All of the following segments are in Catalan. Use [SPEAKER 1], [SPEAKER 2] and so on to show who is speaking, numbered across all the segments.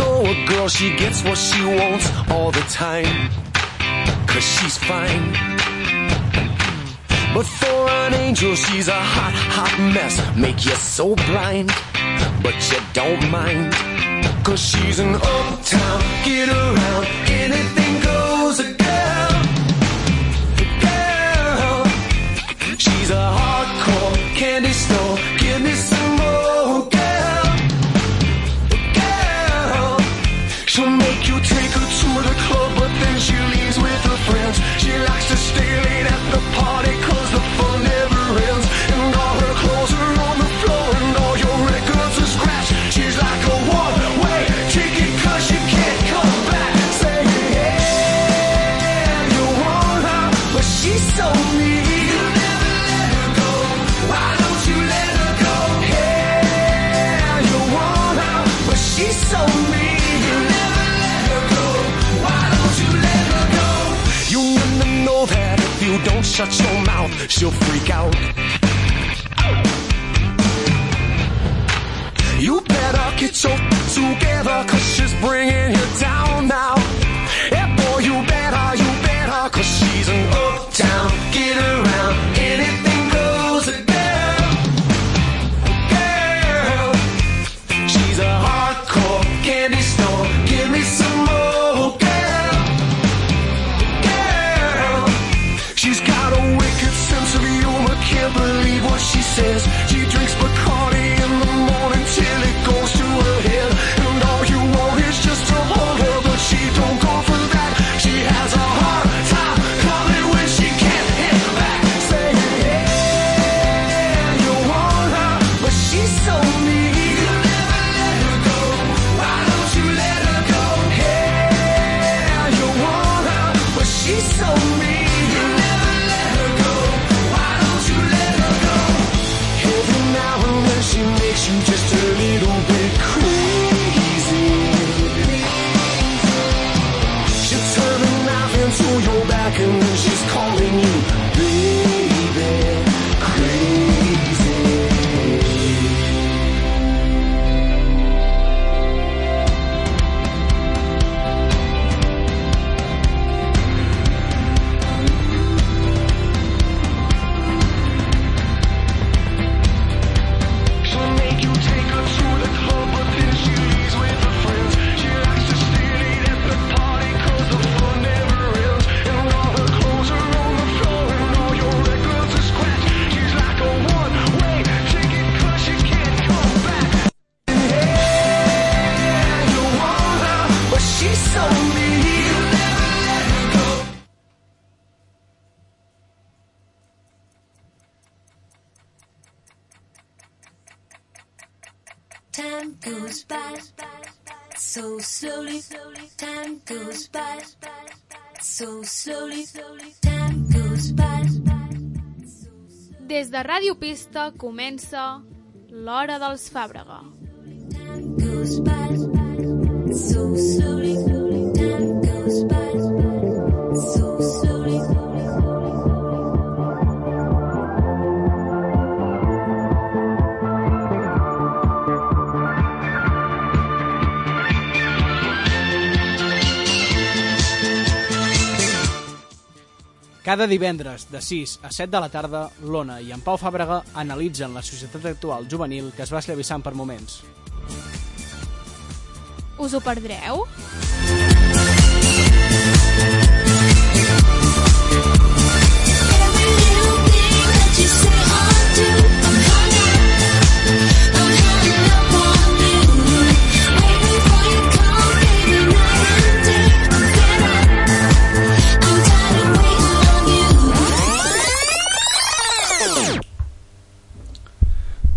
[SPEAKER 1] sure she gets what she wants all the time. Cause she's fine. But for an angel, she's a hot, hot mess. Make you so blind, but you don't mind. Cause she's an uptown, get around, anything goes a girl. Girl, she's a hardcore candy store. Give me some more, girl. Girl, she'll make you take her to the club, but then she leaves with her friends. She likes to stay late at the party, cause the fun never ends. And all her clothes are on the floor, and all your records are scratched. She's like a one way ticket, cause she can't come back. Say, yeah, you want her, but she's so mean. You never let her go. Why don't you let her go? Yeah, you want her, but she's so mean. You never let her go. Why don't you let her go? You never know that if you don't shut your mouth, she'll freak out. You better get your together, cause she's bringing you down now. And boy, you better, you better, cause she's an uptown, get around, anything goes a girl. Girl, she's a hardcore candy store, give me some more, girl. Girl, She's got a wicked sense of humor, can't believe what she says. She drinks Bacardi in the morning till it goes to her head. And all you want is just to hold her, but she don't go for that. She has a hard time coming when she can't hit back. Say, yeah, you want her, but she's so mean. You never let her go. Why don't you let her go? Yeah, you want her, but she's so mean. You never let her go. Why don't you let her go? Every now and then she makes you just a little bit crazy. She'll turn a knife into your back and then she's calling you baby crazy. She'll make you take her to the club, but then she leaves with her friends. She likes to stay late at the party, cause the fun never ends. And all her clothes are on the floor, and all your records are scratched. She's like a one-way ticket, cause she can't come back. Yeah, you want her, but she's so mean. You never let her go.
[SPEAKER 2] Time goes by so slowly. Time goes by so slowly. Time goes by.
[SPEAKER 3] Des de Ràdio Pista comença l'Hora dels Fàbrega.
[SPEAKER 2] Time goes by so slowly. Time goes by so slowly.
[SPEAKER 4] Cada divendres, de 6 a 7 de la tarda, l'Ona i en Pau Fàbrega analitzen la societat actual juvenil que es va esllavissant per moments.
[SPEAKER 3] Us ho perdreu?
[SPEAKER 5] Every little thing that you say or do, I'm hanging, I'm hanging up on you. Wait before you call, baby, night and day. I'm fed up, I'm tired of waiting on you.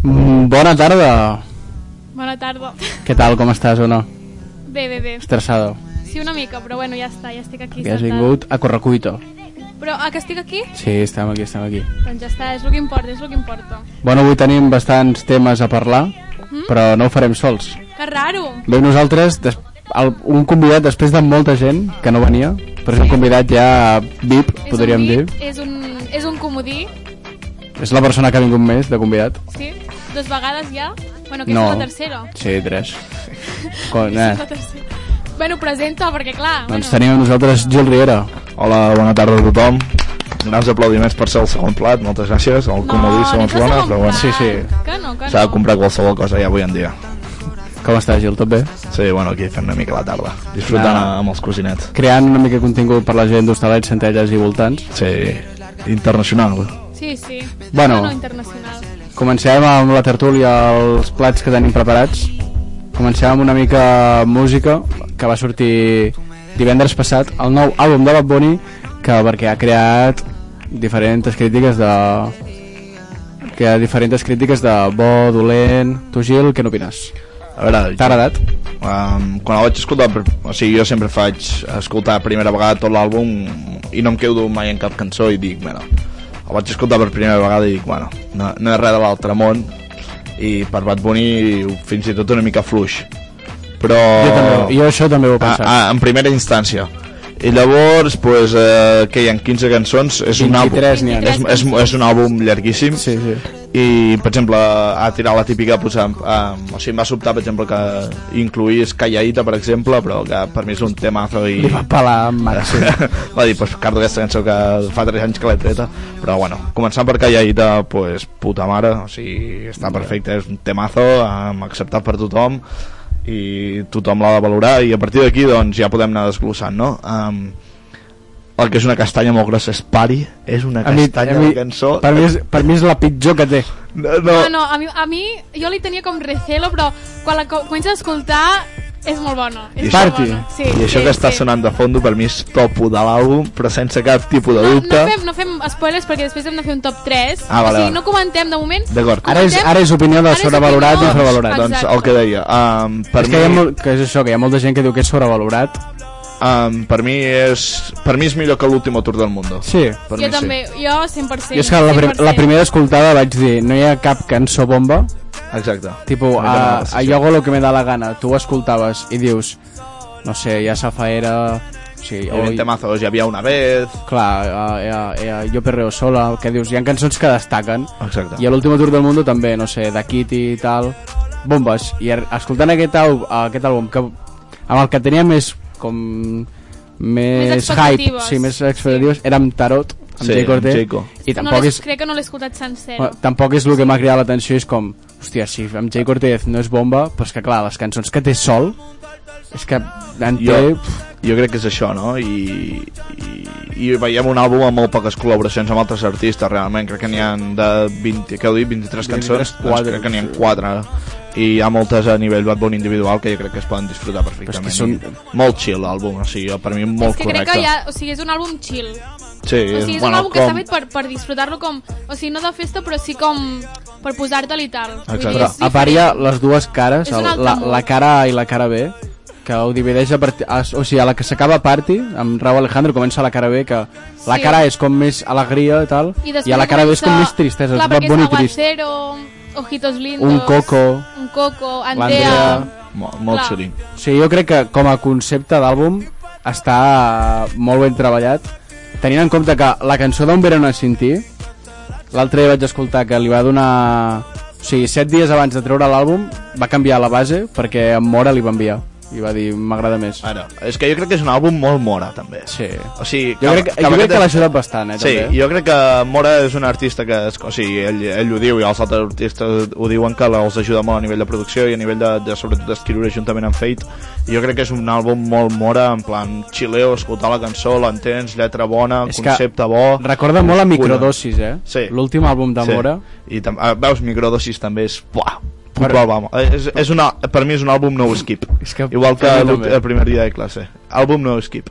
[SPEAKER 6] Mm, Bona tarda.
[SPEAKER 3] Bona tarda.
[SPEAKER 6] Què tal, com estàs, Ona?
[SPEAKER 3] Bé, bé, bé.
[SPEAKER 6] Estressado.
[SPEAKER 3] Sí, una mica, però bueno, ja està, ja estic aquí.
[SPEAKER 6] Que has
[SPEAKER 3] sentada.
[SPEAKER 6] vingut a correcuito.
[SPEAKER 3] Però ah, que estic aquí?
[SPEAKER 6] Sí, estem aquí, estem aquí.
[SPEAKER 3] Doncs ja està, és el que importa, és el que importa.
[SPEAKER 6] Bueno, avui tenim bastants temes a parlar, però no ho farem sols.
[SPEAKER 3] Que raro!
[SPEAKER 6] Ve nosaltres des, el, un convidat després de molta gent que no venia, però és un convidat ja VIP,
[SPEAKER 3] És
[SPEAKER 6] podríem
[SPEAKER 3] un
[SPEAKER 6] dir.
[SPEAKER 3] dit, És un, és un comodí,
[SPEAKER 6] És la persona que ha vingut més de convidat.
[SPEAKER 3] sí? Dos vegades ja? Bueno, aquesta
[SPEAKER 6] No.
[SPEAKER 3] és la tercera.
[SPEAKER 6] Sí, tres. Con,
[SPEAKER 3] Aquesta és
[SPEAKER 6] eh,
[SPEAKER 3] la tercera. Bueno, presenta, perquè clar...
[SPEAKER 6] Doncs
[SPEAKER 3] bueno,
[SPEAKER 6] tenim amb nosaltres Gil Riera.
[SPEAKER 7] Hola, bona tarda a tothom. Grans aplaudiments per ser el segon plat, moltes gràcies. El comodí
[SPEAKER 3] no,
[SPEAKER 7] segons
[SPEAKER 3] que
[SPEAKER 7] l'Ona,
[SPEAKER 3] segon
[SPEAKER 7] però bueno,
[SPEAKER 3] plat,
[SPEAKER 7] sí, sí.
[SPEAKER 3] Que no, que
[SPEAKER 7] S'ha de
[SPEAKER 3] no.
[SPEAKER 7] comprar qualsevol cosa ja avui en dia.
[SPEAKER 6] Com estàs, Gil? Tot bé?
[SPEAKER 7] Sí, bueno, aquí fent una mica la tarda, disfrutant
[SPEAKER 6] Ah.
[SPEAKER 7] amb els cosinets.
[SPEAKER 6] Creant una mica de contingut per la gent d'Hostalets, Centelles i voltants.
[SPEAKER 7] Sí, internacional.
[SPEAKER 3] Sí, sí.
[SPEAKER 6] Bueno.
[SPEAKER 3] No, no, internacional.
[SPEAKER 6] Comencem amb la tertúlia, els plats que tenim preparats. Comencem amb una mica música que va sortir divendres passat, el nou àlbum de Bad Bunny, que perquè ha creat diferents crítiques de que diferents crítiques de bo, dolent... Tu, Gil, què n'opines?
[SPEAKER 7] A veure,
[SPEAKER 6] T'ha agradat?
[SPEAKER 7] Um, quan el vaig escoltar, per- o sigui, jo sempre faig escoltar primera vegada tot l'àlbum i no em quedo mai en cap cançó i dic, bueno, el vaig escoltar per primera vegada i dic, bueno, no, no és res de l'altre món i per Bad Bunny fins i tot una mica fluix. Però...
[SPEAKER 6] Jo, també, jo això també ho he pensat.
[SPEAKER 7] a, a, en primera instància. I llavors, pues, eh, que hi ha 15 cançons, és un àlbum.
[SPEAKER 6] 23 n'hi ha.
[SPEAKER 7] És, és, és un àlbum llarguíssim
[SPEAKER 6] Sí, sí.
[SPEAKER 7] i per exemple a tirar la típica pues, um, um, o sigui, em va sobtar per exemple que incluís Callaita per exemple però que per mi és un temazo i
[SPEAKER 6] Li va pelar en màxim.
[SPEAKER 7] va dir pues, cardo aquesta cançó que fa 3 anys que l'he treta però bueno començant per Callaita pues, puta mare o sigui està perfecte és un temazo um, acceptat per tothom i tothom l'ha de valorar i a partir d'aquí doncs ja podem anar desglossant no? Um, el que és una castanya molt grossa és Pari és una
[SPEAKER 6] A mi,
[SPEAKER 7] castanya
[SPEAKER 6] a mi,
[SPEAKER 7] de cançó
[SPEAKER 6] per, mi és, per mi és la pitjor que té.
[SPEAKER 7] no,
[SPEAKER 3] No, no, a mi, a mi jo li tenia com recelo, però quan la co- comences a escoltar és molt bona. És
[SPEAKER 7] I
[SPEAKER 3] molt
[SPEAKER 6] Party.
[SPEAKER 3] bona. Sí,
[SPEAKER 7] I això
[SPEAKER 3] sí,
[SPEAKER 7] que està
[SPEAKER 3] sí.
[SPEAKER 7] sonant de fondo per mi és topo de l'àlbum, però sense cap tipus de
[SPEAKER 3] No, no,
[SPEAKER 7] dubte.
[SPEAKER 3] fem, no fem spoilers perquè després hem de fer un top 3.
[SPEAKER 7] Ah,
[SPEAKER 3] o
[SPEAKER 7] vale,
[SPEAKER 3] sigui,
[SPEAKER 7] vale.
[SPEAKER 3] no comentem de moment.
[SPEAKER 7] D'acord.
[SPEAKER 6] Ara és, ara és opinió
[SPEAKER 3] Ara
[SPEAKER 6] de
[SPEAKER 3] és
[SPEAKER 6] sobrevalorat i
[SPEAKER 3] opinió.
[SPEAKER 6] infravalorat.
[SPEAKER 7] Doncs
[SPEAKER 3] Exacte.
[SPEAKER 7] el que deia, um, per,
[SPEAKER 6] és
[SPEAKER 7] mi,
[SPEAKER 6] que, hi ha molt, que és això, que hi ha molta gent que diu que és sobrevalorat.
[SPEAKER 7] um, per mi és per mi és millor que l'últim tour del món.
[SPEAKER 6] Sí.
[SPEAKER 7] Per
[SPEAKER 3] jo
[SPEAKER 7] mi
[SPEAKER 3] també, jo 100%.
[SPEAKER 6] Jo és que la, prim
[SPEAKER 3] 100%.
[SPEAKER 6] la primera escoltada vaig dir no hi ha cap cançó bomba
[SPEAKER 7] sí. Exacte.
[SPEAKER 6] tipo
[SPEAKER 7] Em dona
[SPEAKER 6] a,
[SPEAKER 7] la
[SPEAKER 6] a
[SPEAKER 7] sensació.
[SPEAKER 6] yo hago lo que me da la gana tu ho escoltaves i dius no sé, ja Safaera sí,
[SPEAKER 7] Hi havia
[SPEAKER 6] o,
[SPEAKER 7] temazos, hi havia una vez...
[SPEAKER 6] clar, a, a, a, jo perreo sola que dius, hi ha cançons que destaquen
[SPEAKER 7] Exacte.
[SPEAKER 6] i a l'últim tour del món també, no sé, de Kitty i tal bombes i ar- escoltant aquest, àl- aquest àlbum que, amb el que tenia més com més, hype
[SPEAKER 3] expectatives.
[SPEAKER 6] sí, més expectatives era amb Tarot amb
[SPEAKER 7] Sí,
[SPEAKER 6] Jay Cortez,
[SPEAKER 7] amb Jayco.
[SPEAKER 6] i
[SPEAKER 3] no
[SPEAKER 6] tampoc
[SPEAKER 3] l'he-
[SPEAKER 6] és,
[SPEAKER 3] Crec que no l'he escoltat sencer.
[SPEAKER 7] Ah,
[SPEAKER 6] Bueno, tampoc és el que m'ha cridat l'atenció, és com, hòstia, si amb Jay Cortez no és bomba, però és que clar, les cançons que té sol, és que en té...
[SPEAKER 7] Jo,
[SPEAKER 6] pf,
[SPEAKER 7] jo crec que és això, no? I, i, i veiem un àlbum amb molt poques col·laboracions amb altres artistes, realment. Crec que n'hi ha de 20, què heu dit, 23 cançons?
[SPEAKER 6] 23,
[SPEAKER 7] Doncs
[SPEAKER 6] quatre.
[SPEAKER 7] crec que n'hi ha 4. I hi ha moltes a nivell Bad Bunny individual que jo crec que es poden disfrutar
[SPEAKER 6] és
[SPEAKER 7] perfectament.
[SPEAKER 6] que són-
[SPEAKER 7] I Molt chill l'àlbum, o sigui, per mi molt
[SPEAKER 3] és que crec
[SPEAKER 7] correcte.
[SPEAKER 3] que ja, o sigui, és un àlbum chill.
[SPEAKER 7] Sí,
[SPEAKER 3] O sigui, és
[SPEAKER 7] bueno,
[SPEAKER 3] un àlbum que està
[SPEAKER 7] com-
[SPEAKER 3] fet per, per disfrutar-lo com... O sigui, no de festa, però sí com per posar-te-li i tal. Vull
[SPEAKER 7] Exacte.
[SPEAKER 3] dir,
[SPEAKER 6] Però
[SPEAKER 3] és
[SPEAKER 6] a part hi ha
[SPEAKER 3] diferent.
[SPEAKER 6] les dues cares,
[SPEAKER 3] És un
[SPEAKER 6] el,
[SPEAKER 3] altre
[SPEAKER 6] la,
[SPEAKER 3] món.
[SPEAKER 6] la cara A i la cara B, que ho divideix a partir... A, o sigui, a la que s'acaba Party, amb Raúl Alejandro comença la cara B, que la
[SPEAKER 3] Sí.
[SPEAKER 6] cara A és com més alegria i tal, i,
[SPEAKER 3] després
[SPEAKER 6] a la cara B és com
[SPEAKER 3] comença-
[SPEAKER 6] més tristesa,
[SPEAKER 3] Clar,
[SPEAKER 6] és Bad
[SPEAKER 3] perquè
[SPEAKER 6] Bunny
[SPEAKER 3] és
[SPEAKER 6] trist.
[SPEAKER 3] Aguacero, Ojitos Lindos...
[SPEAKER 6] Un coco,
[SPEAKER 3] Un coco,
[SPEAKER 6] l'Andrea...
[SPEAKER 3] Andrea...
[SPEAKER 7] Mo- Molt
[SPEAKER 3] Clar.
[SPEAKER 7] xulín.
[SPEAKER 6] O sigui, jo crec que com a concepte d'àlbum està molt ben treballat, tenint en compte que la cançó d'Un verano a sentir, l'altre dia vaig escoltar que li va donar... O sigui, set dies abans de treure l'àlbum va canviar la base perquè en Mora li va enviar i va dir, m'agrada més.
[SPEAKER 7] Ara, és que jo crec que és un àlbum molt mora, també.
[SPEAKER 6] Sí.
[SPEAKER 7] O sigui,
[SPEAKER 6] Jo crec, que- jo crec que l'ha ajudat bastant, eh,
[SPEAKER 7] Sí,
[SPEAKER 6] també.
[SPEAKER 7] jo crec que Mora és un artista que, es- o sigui, ell, ell ho diu i els altres artistes ho diuen que la- els ajuda molt a nivell de producció i a nivell de, de sobretot d'escriure juntament amb Fate. I jo crec que és un àlbum molt Mora, en plan xileo, escoltar la cançó, l'entens, lletra bona,
[SPEAKER 6] És que
[SPEAKER 7] concepte bo...
[SPEAKER 6] Recorda molt a
[SPEAKER 7] Una.
[SPEAKER 6] Microdosis, eh?
[SPEAKER 7] Sí.
[SPEAKER 6] L'últim àlbum de Mora.
[SPEAKER 7] I tam, eh, veus, Microdosis també és... Buah,
[SPEAKER 6] Per-
[SPEAKER 7] per... Obama. És, és una, per mi és un àlbum no skip.
[SPEAKER 6] És que
[SPEAKER 7] Igual que
[SPEAKER 6] per mi
[SPEAKER 7] l'últim-
[SPEAKER 6] també.
[SPEAKER 7] el primer dia de classe. Àlbum no skip.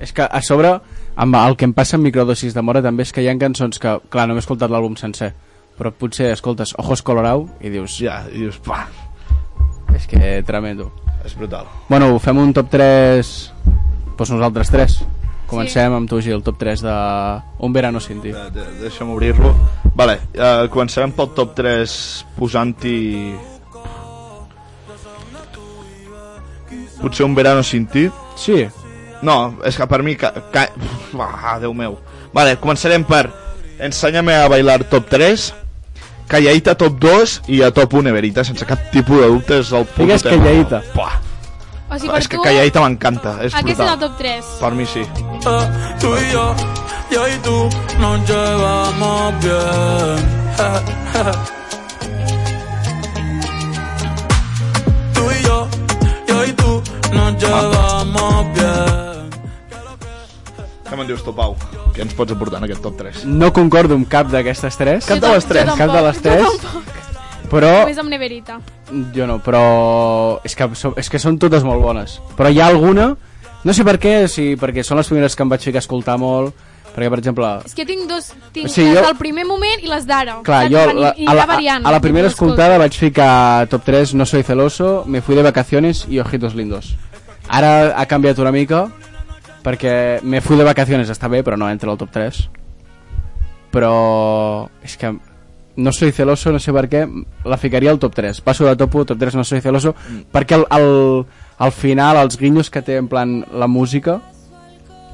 [SPEAKER 6] És que a sobre, amb el que em passa amb microdosis de Mora també és que hi ha cançons que, clar, no m'he escoltat l'àlbum sencer, però potser escoltes Ojos Colorau i dius, ja.
[SPEAKER 7] Ja, i dius, buah,
[SPEAKER 6] és que tremendo.
[SPEAKER 7] és brutal.
[SPEAKER 6] Bueno, fem un top 3, doncs nosaltres 3. Comencem sí. amb tu, Gil, top 3 de Un verano sin ti.
[SPEAKER 7] De- de- Deixa'm obrir-lo. Vale, eh, començarem pel top 3 posant-hi... Potser un verano sin ti.
[SPEAKER 6] Sí,
[SPEAKER 7] No, és que per mi... Ca, ca... Ah, Déu meu. Vale, començarem per Ensenya'm a bailar top 3, Callaita top 2 i a top 1 Everita, sense cap tipus de dubte, és el puto
[SPEAKER 6] Digues
[SPEAKER 7] tema.
[SPEAKER 6] Callaita.
[SPEAKER 7] Buah.
[SPEAKER 3] O sigui, per
[SPEAKER 7] és que
[SPEAKER 3] tu,
[SPEAKER 7] Calladita m'encanta, és
[SPEAKER 3] aquest és el
[SPEAKER 7] brutal.
[SPEAKER 3] top 3.
[SPEAKER 7] Per mi sí.
[SPEAKER 8] Eh, tú y yo, yo y tú nos llevamos bien. Eh, eh. Tú y yo, yo y tú nos llevamos bien.
[SPEAKER 7] Què me'n dius tu, Pau? Què ens pots aportar en aquest top 3?
[SPEAKER 6] No concordo amb cap d'aquestes tres,
[SPEAKER 7] Cap de les tres.
[SPEAKER 6] Cap de les tres. Oh.
[SPEAKER 3] Jo tampoc.
[SPEAKER 6] però...
[SPEAKER 3] Només amb Neverita.
[SPEAKER 6] Jo no, però... És que, so- és que són totes molt bones. Però hi ha alguna... No sé per què, sí, perquè són les primeres que em vaig ficar a escoltar molt, perquè, per exemple...
[SPEAKER 3] És que tinc dos, tinc
[SPEAKER 6] O
[SPEAKER 3] o sigui,
[SPEAKER 6] sigui,
[SPEAKER 3] les
[SPEAKER 6] jo-
[SPEAKER 3] del primer moment i les d'ara.
[SPEAKER 6] Clar,
[SPEAKER 3] Saps?
[SPEAKER 6] jo
[SPEAKER 3] Van-
[SPEAKER 6] la,
[SPEAKER 3] i
[SPEAKER 6] a, la,
[SPEAKER 3] va variant,
[SPEAKER 6] a la
[SPEAKER 3] jo
[SPEAKER 6] primera
[SPEAKER 3] les escolto.
[SPEAKER 6] escoltada vaig ficar top 3, No soy celoso, Me fui de vacaciones i Ojitos lindos. Ara ha canviat una mica, perquè Me fui de vacaciones està bé, però no entra al top 3. Però és que No soy celoso, no sé per què, la ficaria al top 3. Passo de top 1, top 3, No soy celoso,
[SPEAKER 7] Mm.
[SPEAKER 6] perquè al, al, al final, els guinyos que té en plan la música...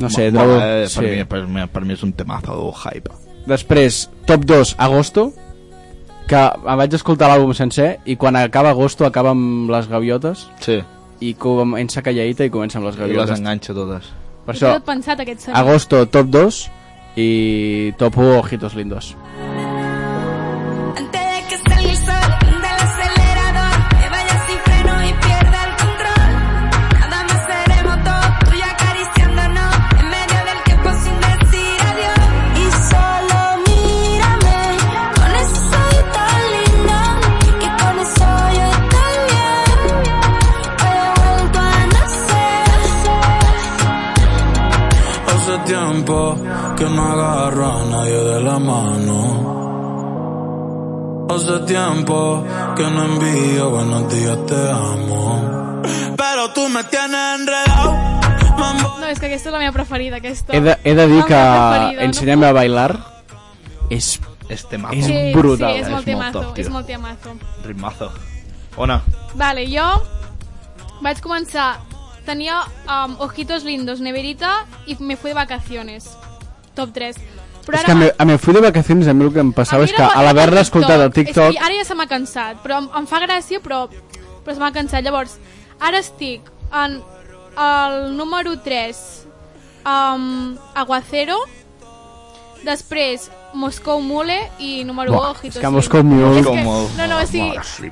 [SPEAKER 6] No sé,
[SPEAKER 7] Mola,
[SPEAKER 6] trobo...
[SPEAKER 7] eh?
[SPEAKER 6] sí.
[SPEAKER 7] per, mi, per, mi, per mi és un temazo hype.
[SPEAKER 6] Després, top 2, Agosto, que em vaig escoltar l'àlbum sencer i quan acaba Agosto acaba amb les gaviotes
[SPEAKER 7] Sí,
[SPEAKER 6] i comença Callaita i comença amb les
[SPEAKER 7] i les
[SPEAKER 6] gaviotes.
[SPEAKER 7] enganxa totes.
[SPEAKER 6] Per
[SPEAKER 3] Jo
[SPEAKER 6] això,
[SPEAKER 3] he pensat aquest senyor.
[SPEAKER 6] Agosto, top 2 i top 1, Ojitos Lindos.
[SPEAKER 5] Antes de que salga el sol del acelerador, me vaya sin freno y pierda el control. Nada más seremos dos, tú y yo acariciándonos en medio del tiempo sin decir adiós. Y solo mírame con ese soy tan lindo que con eso yo estoy bien. Hoy he vuelto a nacer.
[SPEAKER 8] Hace tiempo que no agarro a nadie de la mano. Hace tiempo que no envío buenos días, te amo. Pero tú me tienes enredado. mambo.
[SPEAKER 3] No, és que aquesta és la meva preferida, aquesta.
[SPEAKER 6] He de, he de dir
[SPEAKER 3] La
[SPEAKER 6] que
[SPEAKER 3] meva preferida,
[SPEAKER 6] Ensenya'm a bailar és...
[SPEAKER 7] És temazo.
[SPEAKER 6] És
[SPEAKER 3] Sí,
[SPEAKER 6] brutal.
[SPEAKER 3] Sí, és,
[SPEAKER 7] És molt
[SPEAKER 3] molt temazo,
[SPEAKER 7] top, tio.
[SPEAKER 3] és molt temazo.
[SPEAKER 7] Ritmazo. Ona,
[SPEAKER 3] Vale, jo vaig començar... Tenia um, Ojitos Lindos, Neverita i Me fui de vacaciones. Top 3. Però
[SPEAKER 6] És que a me, a me fui de vacaciones a mi el que em passava és
[SPEAKER 3] mi
[SPEAKER 6] que
[SPEAKER 3] era
[SPEAKER 6] a l'haver-la
[SPEAKER 3] TikTok.
[SPEAKER 6] escoltat al
[SPEAKER 3] És
[SPEAKER 6] TikTok...
[SPEAKER 3] que ara ja se m'ha cansat, però em, em fa gràcia, però, però se m'ha cansat. Llavors, ara estic en el número 3, um, Aguacero, després Moscou Mule i número 1,
[SPEAKER 6] Buah,
[SPEAKER 3] Ojitos.
[SPEAKER 6] és que Moscou Mule...
[SPEAKER 3] És que-
[SPEAKER 7] com el...
[SPEAKER 3] No, no, o sigui,
[SPEAKER 7] sí.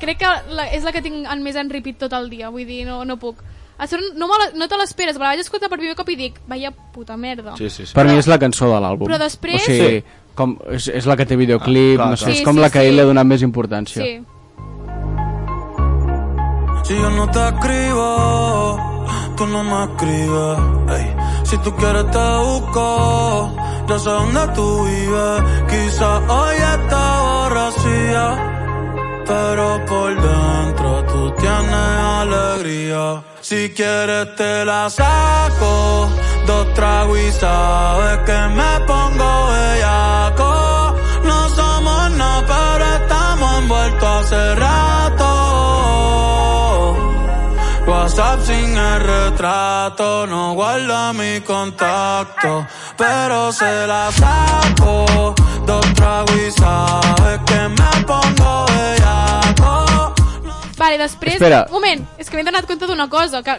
[SPEAKER 3] crec que la, és la que tinc en més en repeat tot el dia, vull dir, no, no puc. A sobre, no, me la, no te l'esperes, me la vaig escoltar per primer cop i dic, vaya puta merda.
[SPEAKER 7] Sí, sí, sí.
[SPEAKER 6] Per mi és la cançó de l'àlbum.
[SPEAKER 3] Però després-
[SPEAKER 6] O sigui, com, és, és la que té videoclip,
[SPEAKER 7] Ah, clar,
[SPEAKER 6] no sé,
[SPEAKER 7] clar.
[SPEAKER 6] és
[SPEAKER 3] Sí,
[SPEAKER 6] com
[SPEAKER 3] sí,
[SPEAKER 6] la que
[SPEAKER 3] sí.
[SPEAKER 6] ell li ha donat més importància.
[SPEAKER 3] sí.
[SPEAKER 8] Si yo no te escribo, tú no me escribes. ey. Si tú quieres te busco, ya sé dónde tú vives. Quizás hoy está borracía, pero por dentro tú tienes alegría. Si quieres te la saco, dos tragos y sabes que me pongo bellaco. No somos nada, pero estamos envueltos hace rato. WhatsApp sin el retrato, no guarda mi contacto, pero se la saco. Dos tragos y sabes que me pongo bellaco.
[SPEAKER 3] Vale, després...
[SPEAKER 6] Espera.
[SPEAKER 3] Un moment, és que m'he donat compte d'una cosa, que...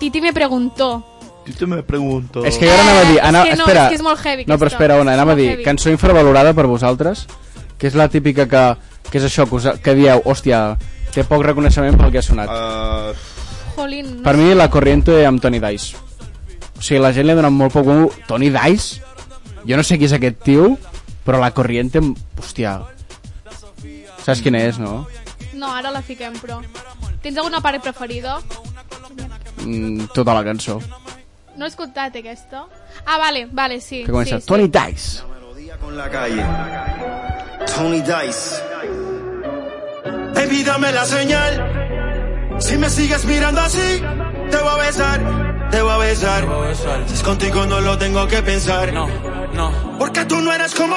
[SPEAKER 3] Titi me preguntó.
[SPEAKER 7] Jo també pregunto...
[SPEAKER 6] És que jo ara anava a dir...
[SPEAKER 3] Eh, és
[SPEAKER 6] Ana,
[SPEAKER 3] que no,
[SPEAKER 6] espera,
[SPEAKER 3] és que és molt heavy,
[SPEAKER 6] No, però
[SPEAKER 3] aquesta.
[SPEAKER 6] espera, Ona,
[SPEAKER 3] És
[SPEAKER 6] anava a
[SPEAKER 3] molt
[SPEAKER 6] dir,
[SPEAKER 3] heavy.
[SPEAKER 6] cançó infravalorada per vosaltres, que és la típica que, que és això, que, us, que dieu, hòstia, té poc reconeixement pel que ha sonat.
[SPEAKER 7] Uh,
[SPEAKER 3] Jolín, no
[SPEAKER 6] Per mi, la corriente amb Tony Dice. O sigui, la gent li ha donat molt poc... bombo. Tony Dice? Jo no sé qui és aquest tio, però la corriente... em- Hòstia... Saps quina és, no?
[SPEAKER 3] No, ara la fiquem, però... Tens alguna part preferida?
[SPEAKER 6] Mm, tota la cançó.
[SPEAKER 3] No he escoltat aquesta. Ah, vale, vale, sí.
[SPEAKER 6] Que comença,
[SPEAKER 3] sí, sí.
[SPEAKER 6] Tony Dice.
[SPEAKER 9] melodía con la calle. Tony Dice.
[SPEAKER 8] Baby, dame la señal. Si me sigues mirando así, te voy a besar, te voy a besar. Si es contigo no lo tengo que pensar. No, no. Porque tú no eres como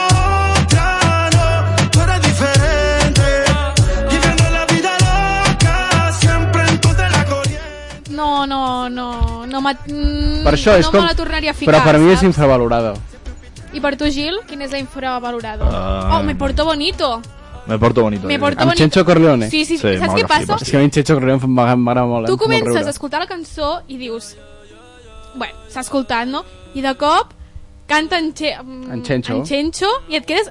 [SPEAKER 8] otra, no. Tú eres diferente. Viviendo la vida loca, siempre en contra de la corriente.
[SPEAKER 3] No, no, no... no m'ha- mm,
[SPEAKER 6] Per això
[SPEAKER 3] no
[SPEAKER 6] és com...
[SPEAKER 3] me la tornaria a ficar,
[SPEAKER 6] però per mi és
[SPEAKER 3] saps?
[SPEAKER 6] infravalorada.
[SPEAKER 3] I per tu, Gil, quina és la infravalorada?
[SPEAKER 7] Ah.
[SPEAKER 3] Oh, me porto bonito.
[SPEAKER 7] Me porto bonito.
[SPEAKER 3] Me
[SPEAKER 7] eh?
[SPEAKER 3] porto
[SPEAKER 6] Amb
[SPEAKER 3] bonito.
[SPEAKER 6] Chencho Corleone.
[SPEAKER 3] Sí, sí,
[SPEAKER 7] Sí,
[SPEAKER 3] sí. Saps
[SPEAKER 7] mola,
[SPEAKER 3] què passa?
[SPEAKER 7] flipes.
[SPEAKER 6] És que a mi en Checho Corleone m'agrada molt.
[SPEAKER 3] Tu
[SPEAKER 6] em fa molt
[SPEAKER 3] comences a
[SPEAKER 6] riure.
[SPEAKER 3] escoltar la cançó i dius... Bueno, s'ha escoltat, no? I de cop canta en, che... mm,
[SPEAKER 6] En Chencho.
[SPEAKER 3] en Chencho i et quedes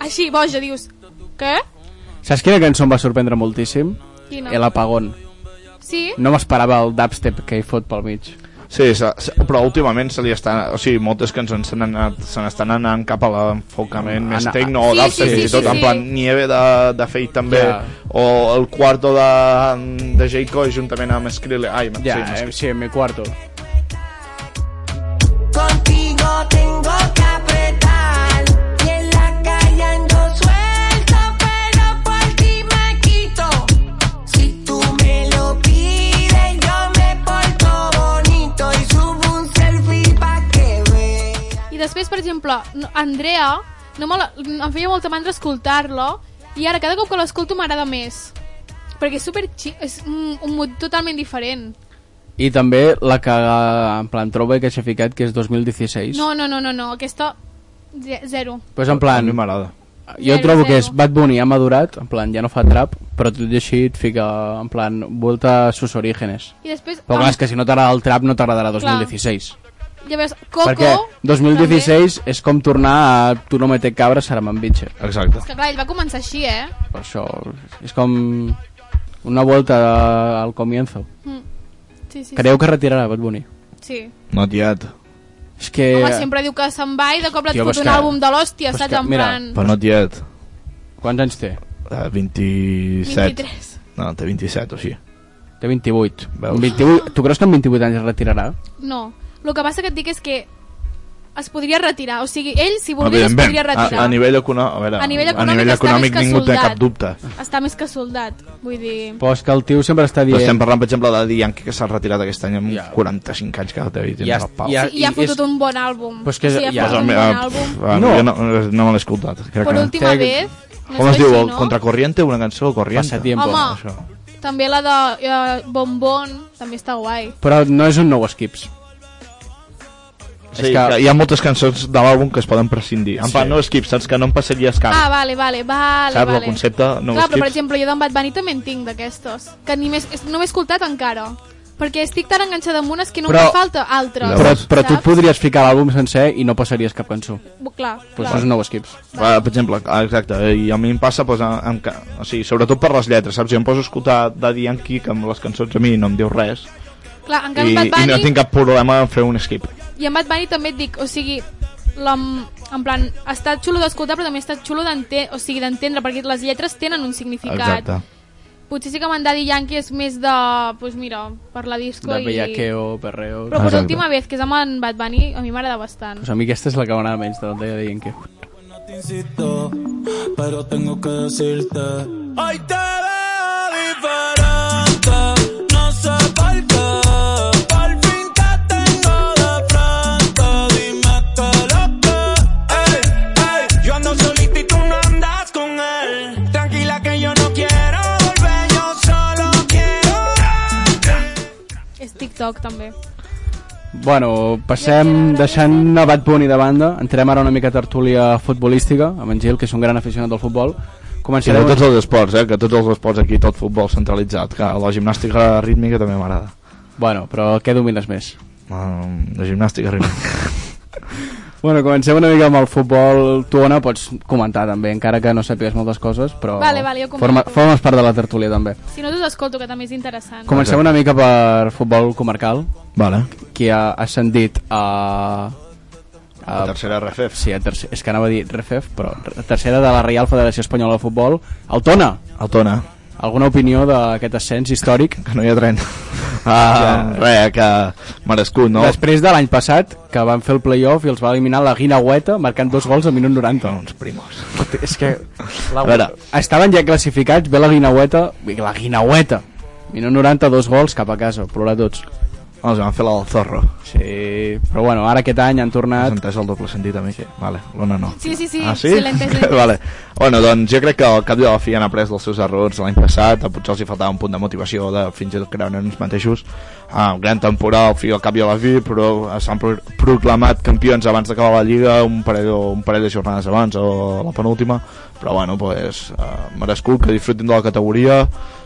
[SPEAKER 3] així, boja, dius... Què?
[SPEAKER 6] Saps quina cançó em va sorprendre moltíssim?
[SPEAKER 3] Quina?
[SPEAKER 6] El apagón.
[SPEAKER 3] Sí?
[SPEAKER 6] No m'esperava el dubstep que hi fot pel mig.
[SPEAKER 7] Sí, se, se, però últimament se li està... O sigui, moltes cançons se n'estan anant cap a l'enfocament més
[SPEAKER 6] Ana-
[SPEAKER 7] tecno o
[SPEAKER 3] Sí,
[SPEAKER 7] dubstep,
[SPEAKER 3] sí,
[SPEAKER 7] fins
[SPEAKER 3] sí,
[SPEAKER 7] i tot,
[SPEAKER 3] sí,
[SPEAKER 7] en
[SPEAKER 3] sí.
[SPEAKER 7] plan Nieve de, de Fate també,
[SPEAKER 6] Ja.
[SPEAKER 7] o el quarto de, de J. Cole juntament amb Skrillex. Ai,
[SPEAKER 6] Ja, eh,
[SPEAKER 7] sí, no,
[SPEAKER 6] sí,
[SPEAKER 7] Skrillex.
[SPEAKER 6] sí, en mi cuarto.
[SPEAKER 10] Contigo tengo que apretar y en la calle ando suelto, pero por ti me quito. Si tú me lo pides, yo me porto bonito y subo un selfie pa' que veas.
[SPEAKER 3] I després, per exemple, no- Andrea, no me la, em feia molta mandra escoltar-la i ara cada cop que l'escolto m'agrada més. Perquè és super xic, és un, un mood totalment diferent.
[SPEAKER 6] I també la que en plan troba que s'ha ficat que és 2016.
[SPEAKER 3] No, no, no, no, no, aquesta ze- zero.
[SPEAKER 6] Pues en
[SPEAKER 7] A
[SPEAKER 6] plan,
[SPEAKER 7] mi m'agrada.
[SPEAKER 6] jo
[SPEAKER 3] Zero,
[SPEAKER 6] trobo que és
[SPEAKER 3] zero.
[SPEAKER 6] Bad Bunny ha madurat, en plan, ja no fa trap, però tot i així et fica, en plan, volta a sus orígenes.
[SPEAKER 3] I després...
[SPEAKER 6] Però clar, és que si no t'agrada el trap no t'agradarà
[SPEAKER 3] Clar.
[SPEAKER 6] 2016.
[SPEAKER 3] Ja veus, Coco...
[SPEAKER 6] Perquè 2016 és com tornar a Tu no me te cabra, Saraman Bitcher.
[SPEAKER 7] Exacte.
[SPEAKER 3] També. Que clar, ell va començar així, eh?
[SPEAKER 6] Per això és com una volta a- al comienzo.
[SPEAKER 3] Sí, sí,
[SPEAKER 6] Creieu que retirarà Bad Bunny?
[SPEAKER 3] sí.
[SPEAKER 7] No, tiet.
[SPEAKER 6] És que...
[SPEAKER 3] Home, sempre diu que se'n va i de cop et
[SPEAKER 6] Tio,
[SPEAKER 3] fot
[SPEAKER 6] però és
[SPEAKER 3] un
[SPEAKER 6] que-
[SPEAKER 3] àlbum de l'hòstia,
[SPEAKER 6] però és
[SPEAKER 3] saps?
[SPEAKER 6] que,
[SPEAKER 3] en
[SPEAKER 6] mira,
[SPEAKER 3] plan...
[SPEAKER 7] Però no, tiet.
[SPEAKER 6] Quants anys té?
[SPEAKER 7] Eh, 27.
[SPEAKER 3] 23.
[SPEAKER 7] No, té 27 o així.
[SPEAKER 6] Té 28.
[SPEAKER 7] Veus?
[SPEAKER 6] Amb 28. Tu creus que amb 28 anys es retirarà?
[SPEAKER 3] No. El que passa que et dic és que es podria retirar. O sigui, ell, si volgués, es podria
[SPEAKER 7] Evidentment, a,
[SPEAKER 3] retirar.
[SPEAKER 7] a, nivell econòmic, a, veure,
[SPEAKER 3] A nivell
[SPEAKER 7] a
[SPEAKER 3] econòmic
[SPEAKER 7] nivell
[SPEAKER 3] està
[SPEAKER 7] econòmic
[SPEAKER 3] més que
[SPEAKER 7] ningú té
[SPEAKER 3] soldat.
[SPEAKER 7] cap dubte.
[SPEAKER 3] Està més que soldat. Vull dir...
[SPEAKER 6] Però és que el tio sempre està
[SPEAKER 7] Però
[SPEAKER 6] dient...
[SPEAKER 7] estem parlant, per exemple, de Daddy Yankee, que s'ha retirat aquest any amb
[SPEAKER 6] Ja.
[SPEAKER 7] 45 anys que té i tindrà
[SPEAKER 6] Ja-
[SPEAKER 7] el pal.
[SPEAKER 6] ja-
[SPEAKER 3] I, ha
[SPEAKER 6] i
[SPEAKER 3] fotut
[SPEAKER 6] és-
[SPEAKER 3] un bon àlbum.
[SPEAKER 6] Pues que-
[SPEAKER 3] sí, ha
[SPEAKER 6] ja.
[SPEAKER 3] fotut un
[SPEAKER 7] Pues,
[SPEAKER 3] bon
[SPEAKER 7] eh,
[SPEAKER 3] àlbum.
[SPEAKER 7] pf,
[SPEAKER 6] No.
[SPEAKER 7] Jo no, no me l'he escoltat. Crec
[SPEAKER 3] Per
[SPEAKER 7] que no.
[SPEAKER 3] última
[SPEAKER 6] Crec-
[SPEAKER 3] vez... No
[SPEAKER 7] Com es
[SPEAKER 3] sé
[SPEAKER 7] diu?
[SPEAKER 3] si
[SPEAKER 7] el
[SPEAKER 3] no. Ah.
[SPEAKER 7] Contracorriente? Una cançó? Corriente?
[SPEAKER 6] Pasatiempo.
[SPEAKER 3] Home.
[SPEAKER 7] Això.
[SPEAKER 3] També la de eh, Bombón, també està guai.
[SPEAKER 6] Però no és un nou skips.
[SPEAKER 7] Sí,
[SPEAKER 6] És
[SPEAKER 7] que...
[SPEAKER 6] que-
[SPEAKER 7] hi ha moltes cançons de l'àlbum que es poden prescindir. En
[SPEAKER 6] Sí.
[SPEAKER 7] plan, no skips, saps que no em passaries cap.
[SPEAKER 3] Ah, vale, vale, vale.
[SPEAKER 7] saps
[SPEAKER 3] vale.
[SPEAKER 7] el concepte? No
[SPEAKER 3] Clar, però per
[SPEAKER 7] skips.
[SPEAKER 3] exemple, jo d'en Bad Bunny també en tinc d'aquestos. Que ni més, no m'he escoltat encara. Perquè estic tan enganxada amb unes que no
[SPEAKER 6] Però-
[SPEAKER 3] em falta altres.
[SPEAKER 6] Però, però tu
[SPEAKER 3] saps?
[SPEAKER 6] podries ficar l'àlbum sencer i no passaries cap cançó.
[SPEAKER 3] Bu- Clar,
[SPEAKER 6] Pues
[SPEAKER 3] clar.
[SPEAKER 6] això és un nou skips.
[SPEAKER 7] Ah, per exemple, ah, exacte, eh, i a mi em passa pues, amb, amb, ca- o sigui, sobretot per les lletres, saps? Jo em poso a escoltar Daddy Yankee, que amb les cançons a mi no em diu res,
[SPEAKER 3] clar, en
[SPEAKER 7] i,
[SPEAKER 3] canvi Bad
[SPEAKER 7] i no
[SPEAKER 3] Bunny...
[SPEAKER 7] tinc cap problema en fer un skip.
[SPEAKER 3] I en Bad Bunny també et dic, o sigui, la, en plan, està xulo d'escoltar però també està xulo d'entendre, o sigui, d'entendre, perquè les lletres tenen un significat.
[SPEAKER 7] Exacte.
[SPEAKER 3] Potser sí que amb en Daddy Yankee és més de, pues mira, per la disco
[SPEAKER 6] De
[SPEAKER 3] i...
[SPEAKER 6] bellaqueo, perreo...
[SPEAKER 3] Però
[SPEAKER 6] Doncs
[SPEAKER 3] per
[SPEAKER 7] Exacte.
[SPEAKER 3] última vez, que és amb en Bad Bunny, a mi m'agrada bastant.
[SPEAKER 6] a mi aquesta és la que m'agrada menys del Daddy Yankee.
[SPEAKER 8] No te insisto, pero tengo que decirte. Hoy te veo diferente, no sé por qué. Por fin te tengo de frente, dime que lo que. Ey, ey, yo ando solito y tú no andas con él. Tranquila que yo no quiero volver, yo solo quiero.
[SPEAKER 3] És TikTok, també.
[SPEAKER 6] Bueno, passem deixant a Bad Bunny de banda. Entrem ara una mica a tertúlia futbolística amb en Gil, que és un gran aficionat del futbol.
[SPEAKER 7] I de
[SPEAKER 6] Començarem...
[SPEAKER 7] tots els esports, eh? Que tots els esports aquí, tot futbol centralitzat. Que la gimnàstica rítmica també m'agrada.
[SPEAKER 6] Bueno, però què domines més?
[SPEAKER 7] Um, la gimnàstica rítmica.
[SPEAKER 6] Bueno, comencem una mica amb el futbol. Tu, Ona, pots comentar també, encara que no sàpigues moltes coses, però
[SPEAKER 3] Vale, vale, jo comento.
[SPEAKER 6] forma, formes part de la tertúlia també.
[SPEAKER 3] Si no, t'ho escolto, que també és interessant.
[SPEAKER 6] Comencem una mica per futbol comarcal,
[SPEAKER 7] vale.
[SPEAKER 6] que ha ascendit a...
[SPEAKER 7] La tercera RFF.
[SPEAKER 6] Sí, a tercer, és que anava a dir RFF, però a tercera de la Real Federació Espanyola de Futbol. El Tona,
[SPEAKER 7] El Tona,
[SPEAKER 6] alguna opinió d'aquest ascens històric?
[SPEAKER 7] que no hi ha tren. Ah, ja. Re, que merescut, no?
[SPEAKER 6] No. Després de l'any passat, que van fer el playoff i els va eliminar la Guinaueta, marcant dos gols al minut 90.
[SPEAKER 7] Uns doncs, primos.
[SPEAKER 6] És que... La...
[SPEAKER 7] A veure.
[SPEAKER 6] Estaven ja classificats, ve la Guinaueta... La Guinaueta! Minut 90, dos gols, cap a casa, plorar tots.
[SPEAKER 7] Els van fer la del zorro.
[SPEAKER 6] Sí, però bueno, ara aquest any han
[SPEAKER 7] Has
[SPEAKER 6] tornat...
[SPEAKER 7] entès el doble sentit a mi? Sí. Vale, l'Ona no.
[SPEAKER 3] Sí, sí, sí,
[SPEAKER 7] Ah, sí?
[SPEAKER 3] sí, l'he entès, l'he entès.
[SPEAKER 7] vale. Bueno, doncs jo crec que al cap i a la fi han après dels seus errors l'any passat, potser els hi faltava un punt de motivació de fins i tot creure en ells mateixos. Ah, gran temporada al fi al cap i a la fi, però s'han pro proclamat campions abans d'acabar la Lliga un parell, o- un parell de jornades abans o la penúltima, però bueno, pues, eh, merescut que disfrutin de la categoria,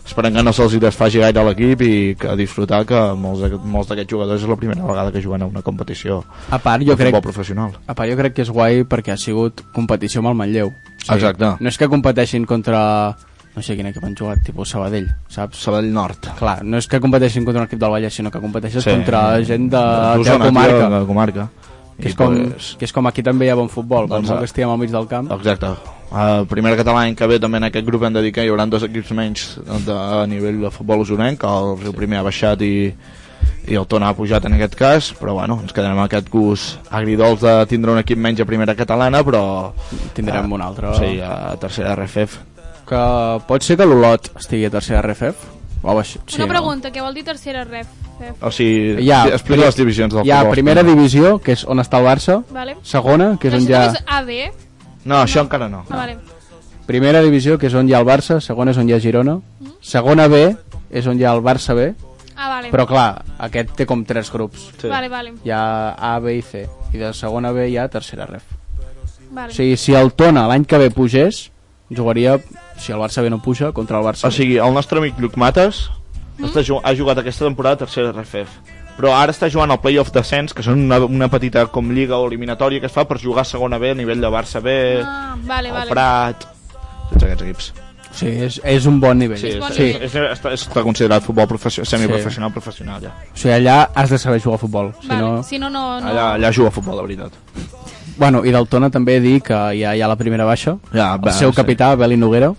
[SPEAKER 7] esperem que no se'ls hi desfaci gaire a l'equip i que disfrutar que molts, d'aquest- molts d'aquests jugadors és la primera vegada que juguen a una competició
[SPEAKER 6] A part, jo
[SPEAKER 7] de
[SPEAKER 6] crec,
[SPEAKER 7] futbol professional.
[SPEAKER 6] a part, jo crec que és guai perquè ha sigut competició amb el Manlleu. O
[SPEAKER 7] Exacte.
[SPEAKER 6] No és que competeixin contra... No sé quin equip han jugat, tipus Sabadell, saps?
[SPEAKER 7] Sabadell Nord.
[SPEAKER 6] Clar, no és que competeixin contra un equip del Vallès, sinó que competeixes
[SPEAKER 7] Sí.
[SPEAKER 6] contra gent de, de,
[SPEAKER 7] D'Osona,
[SPEAKER 6] la Ah, comarca.
[SPEAKER 7] tio, de la comarca.
[SPEAKER 6] que,
[SPEAKER 7] I
[SPEAKER 6] és com,
[SPEAKER 7] pues,
[SPEAKER 6] que és com aquí també hi ha bon futbol,
[SPEAKER 7] Doncs,
[SPEAKER 6] doncs, penseu
[SPEAKER 7] eh,
[SPEAKER 6] que estiguem al mig del camp.
[SPEAKER 7] Exacte. El primer català any que ve també en aquest grup hem de dir que hi haurà dos equips menys de, a nivell de futbol usonenc, que el Riu Primer ha baixat i, i el Tona ha pujat en aquest cas, però bueno, ens quedarem amb aquest gust agridolç de tindre un equip menys a primera catalana, però...
[SPEAKER 6] Tindrem
[SPEAKER 7] eh,
[SPEAKER 6] un altre.
[SPEAKER 7] Sí, a tercera RFF.
[SPEAKER 6] Que pot ser que l'Olot estigui a tercera RFF? O baix... sí,
[SPEAKER 3] Una
[SPEAKER 6] no?
[SPEAKER 3] pregunta, què vol dir tercera ref? Ref,
[SPEAKER 7] O sigui,
[SPEAKER 6] Hi ha,
[SPEAKER 7] explica les divisions del
[SPEAKER 6] hi ha
[SPEAKER 7] futbol
[SPEAKER 6] primera
[SPEAKER 7] espanyol.
[SPEAKER 6] divisió, que és on està el Barça,
[SPEAKER 3] Vale.
[SPEAKER 6] segona, que és
[SPEAKER 3] Però
[SPEAKER 6] on
[SPEAKER 3] això
[SPEAKER 6] hi ha...
[SPEAKER 3] també és AD?
[SPEAKER 7] No, això encara no.
[SPEAKER 3] Ah, vale.
[SPEAKER 6] Primera divisió, que és on hi ha el Barça, segona és on hi ha Girona,
[SPEAKER 3] Mm.
[SPEAKER 6] segona B és on hi ha el Barça B,
[SPEAKER 3] Ah, vale.
[SPEAKER 6] però clar, aquest té com tres grups.
[SPEAKER 7] Sí.
[SPEAKER 3] Vale, vale.
[SPEAKER 6] Hi ha A, B i C, i de segona B hi ha tercera ref.
[SPEAKER 3] vale.
[SPEAKER 6] O sigui, si el Tona l'any que ve pugés, jugaria, si el Barça B no puja, contra el Barça
[SPEAKER 7] O
[SPEAKER 6] B.
[SPEAKER 7] sigui, el nostre amic Lluc Mates
[SPEAKER 3] Mm-hmm.
[SPEAKER 7] està ju ha jugat aquesta temporada a tercera RFF però ara està jugant al playoff descens que són una, una petita com lliga o eliminatòria que es fa per jugar a segona B a nivell de Barça B
[SPEAKER 3] Ah, vale,
[SPEAKER 7] el
[SPEAKER 3] vale.
[SPEAKER 7] Prat tots aquests equips
[SPEAKER 6] Sí, és, és un bon nivell.
[SPEAKER 7] sí,
[SPEAKER 6] Sí,
[SPEAKER 3] bon
[SPEAKER 7] és,
[SPEAKER 6] sí.
[SPEAKER 7] és, és, està, està considerat futbol professional, semiprofessional professional ja.
[SPEAKER 6] O sigui, allà has de saber jugar a futbol. Si
[SPEAKER 3] Vale.
[SPEAKER 6] no...
[SPEAKER 3] Si no, no... no.
[SPEAKER 7] allà, allà juga a futbol de veritat
[SPEAKER 6] Bueno, i del Tona també dir que hi ha, hi ha la primera baixa.
[SPEAKER 7] Ja,
[SPEAKER 6] el
[SPEAKER 7] va,
[SPEAKER 6] seu
[SPEAKER 7] sí.
[SPEAKER 6] capità, Beli Noguera.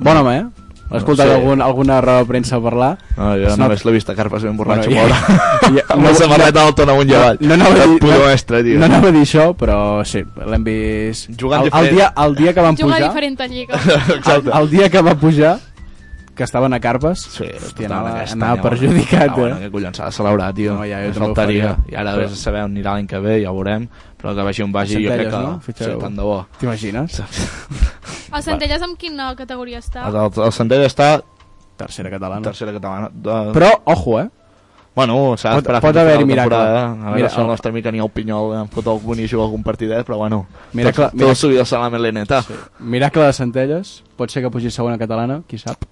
[SPEAKER 6] Bon home, eh? L'he escoltat
[SPEAKER 7] sé.
[SPEAKER 6] algun, alguna roda de premsa parlar.
[SPEAKER 7] no, jo
[SPEAKER 6] Es
[SPEAKER 7] no,
[SPEAKER 6] nota-
[SPEAKER 7] només l'he vist a Carpes ben borratxo
[SPEAKER 6] Bueno,
[SPEAKER 7] bueno,
[SPEAKER 6] ja-
[SPEAKER 7] ja,
[SPEAKER 6] ja-
[SPEAKER 7] amb la
[SPEAKER 6] no-
[SPEAKER 7] samarreta del Tona amunt i avall
[SPEAKER 6] No, no, anava a
[SPEAKER 7] El
[SPEAKER 6] dir-
[SPEAKER 7] puto
[SPEAKER 6] no-
[SPEAKER 7] mestre, tio
[SPEAKER 6] no anava a dir això, però sí, l'hem vist...
[SPEAKER 7] Jugant
[SPEAKER 6] el, el,
[SPEAKER 7] diferent.
[SPEAKER 6] dia, el dia que van
[SPEAKER 3] Juga a
[SPEAKER 6] pujar...
[SPEAKER 3] diferent lliga.
[SPEAKER 6] El,
[SPEAKER 7] exacte
[SPEAKER 6] el dia que va pujar, que estaven a Carpes, hòstia,
[SPEAKER 7] totalment
[SPEAKER 6] anava,
[SPEAKER 7] aquesta,
[SPEAKER 6] anava
[SPEAKER 7] ja,
[SPEAKER 6] perjudicat,
[SPEAKER 7] Ah, bueno,
[SPEAKER 6] eh?
[SPEAKER 7] que collons s'ha de celebrar, tio.
[SPEAKER 6] No, ja, jo
[SPEAKER 7] Només
[SPEAKER 6] també ho
[SPEAKER 7] faltaria.
[SPEAKER 6] faria.
[SPEAKER 7] I ara
[SPEAKER 6] Però-
[SPEAKER 7] vés a saber on anirà l'any que ve, ja ho veurem. Però que vagi on vagi, jo crec
[SPEAKER 6] Centelles,
[SPEAKER 7] que...
[SPEAKER 6] no? Fitxeu.
[SPEAKER 7] Sí, tant de bo.
[SPEAKER 6] T'imagines?
[SPEAKER 3] El Centelles amb quina categoria està?
[SPEAKER 7] El, el Centella està
[SPEAKER 6] Tercera catalana.
[SPEAKER 7] tercera catalana. De...
[SPEAKER 6] Però, ojo, eh?
[SPEAKER 7] Bueno, s'ha
[SPEAKER 6] Pot-
[SPEAKER 7] d'esperar
[SPEAKER 6] pot
[SPEAKER 7] fins al final
[SPEAKER 6] haver-hi
[SPEAKER 7] de temporada,
[SPEAKER 6] miracle.
[SPEAKER 7] eh? A veure
[SPEAKER 6] Mira,
[SPEAKER 7] si el
[SPEAKER 6] el-
[SPEAKER 7] nostre amic Aniol Pinyol em fot algun i juga algun partidet, però bueno.
[SPEAKER 6] Miracle-
[SPEAKER 7] Tot,
[SPEAKER 6] miracle.
[SPEAKER 7] tot subido a la meleneta. Sí.
[SPEAKER 6] Miracle de Centelles, pot ser que pugi segona catalana, qui sap.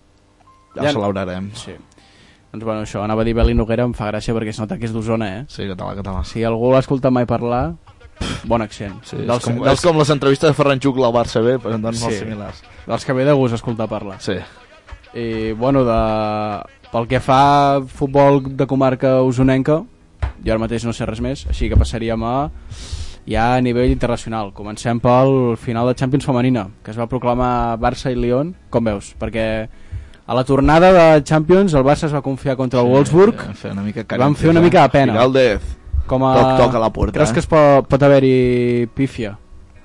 [SPEAKER 7] Ja ho celebrarem.
[SPEAKER 6] Sí. Doncs bueno, això, anava a dir Beli Noguera, em fa gràcia perquè es nota que és d'Osona, eh?
[SPEAKER 7] Sí, català, català. Sí.
[SPEAKER 6] Si algú l'ha escoltat mai parlar, pff, bon accent.
[SPEAKER 7] Sí, és
[SPEAKER 6] dels,
[SPEAKER 7] com,
[SPEAKER 6] dels,
[SPEAKER 7] és com les entrevistes de Ferran Xucla al Barça B, però en donen molt
[SPEAKER 6] Sí.
[SPEAKER 7] similars.
[SPEAKER 6] dels que ve de gust escoltar parlar.
[SPEAKER 7] Sí.
[SPEAKER 6] I Eh, bueno, de, pel que fa a futbol de comarca usonenca, jo ara mateix no sé res més, així que passaríem a ja a nivell internacional. Comencem pel final de Champions femenina, que es va proclamar Barça i Lyon. Com veus? Perquè a la tornada de Champions el Barça es va confiar contra el Wolfsburg.
[SPEAKER 7] Van fer una mica, eh?
[SPEAKER 6] Van fer una mica de pena.
[SPEAKER 7] Giraldez.
[SPEAKER 6] Com a...
[SPEAKER 7] Toc, toc a la porta,
[SPEAKER 6] Creus
[SPEAKER 7] eh? Mm,
[SPEAKER 6] que es pot, pot haver-hi pífia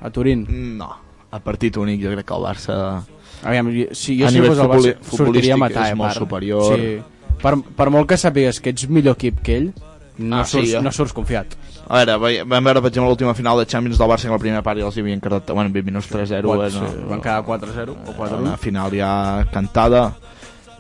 [SPEAKER 6] a Turín?
[SPEAKER 7] No, a partit únic jo crec que el Barça...
[SPEAKER 6] Aviam, jo- si jo
[SPEAKER 7] A
[SPEAKER 6] si
[SPEAKER 7] nivell
[SPEAKER 6] fos el Barça
[SPEAKER 7] futboli-
[SPEAKER 6] sortiria a matar,
[SPEAKER 7] futbolístic és
[SPEAKER 6] eh,
[SPEAKER 7] molt
[SPEAKER 6] part.
[SPEAKER 7] superior.
[SPEAKER 6] Sí. Per, per molt que sàpigues que ets millor equip que ell, no,
[SPEAKER 7] Ah, sí,
[SPEAKER 6] surts,
[SPEAKER 7] eh?
[SPEAKER 6] no surts confiat.
[SPEAKER 7] A veure, ve- vam veure, per exemple, l'última final de Champions del Barça que en la primera part ja els hi havien quedat bueno, 20 minuts 3-0.
[SPEAKER 6] Pot
[SPEAKER 7] eh,
[SPEAKER 6] ser,
[SPEAKER 7] no?
[SPEAKER 6] Van quedar 4-0 o
[SPEAKER 7] Era
[SPEAKER 6] 4-1.
[SPEAKER 7] Una final ja cantada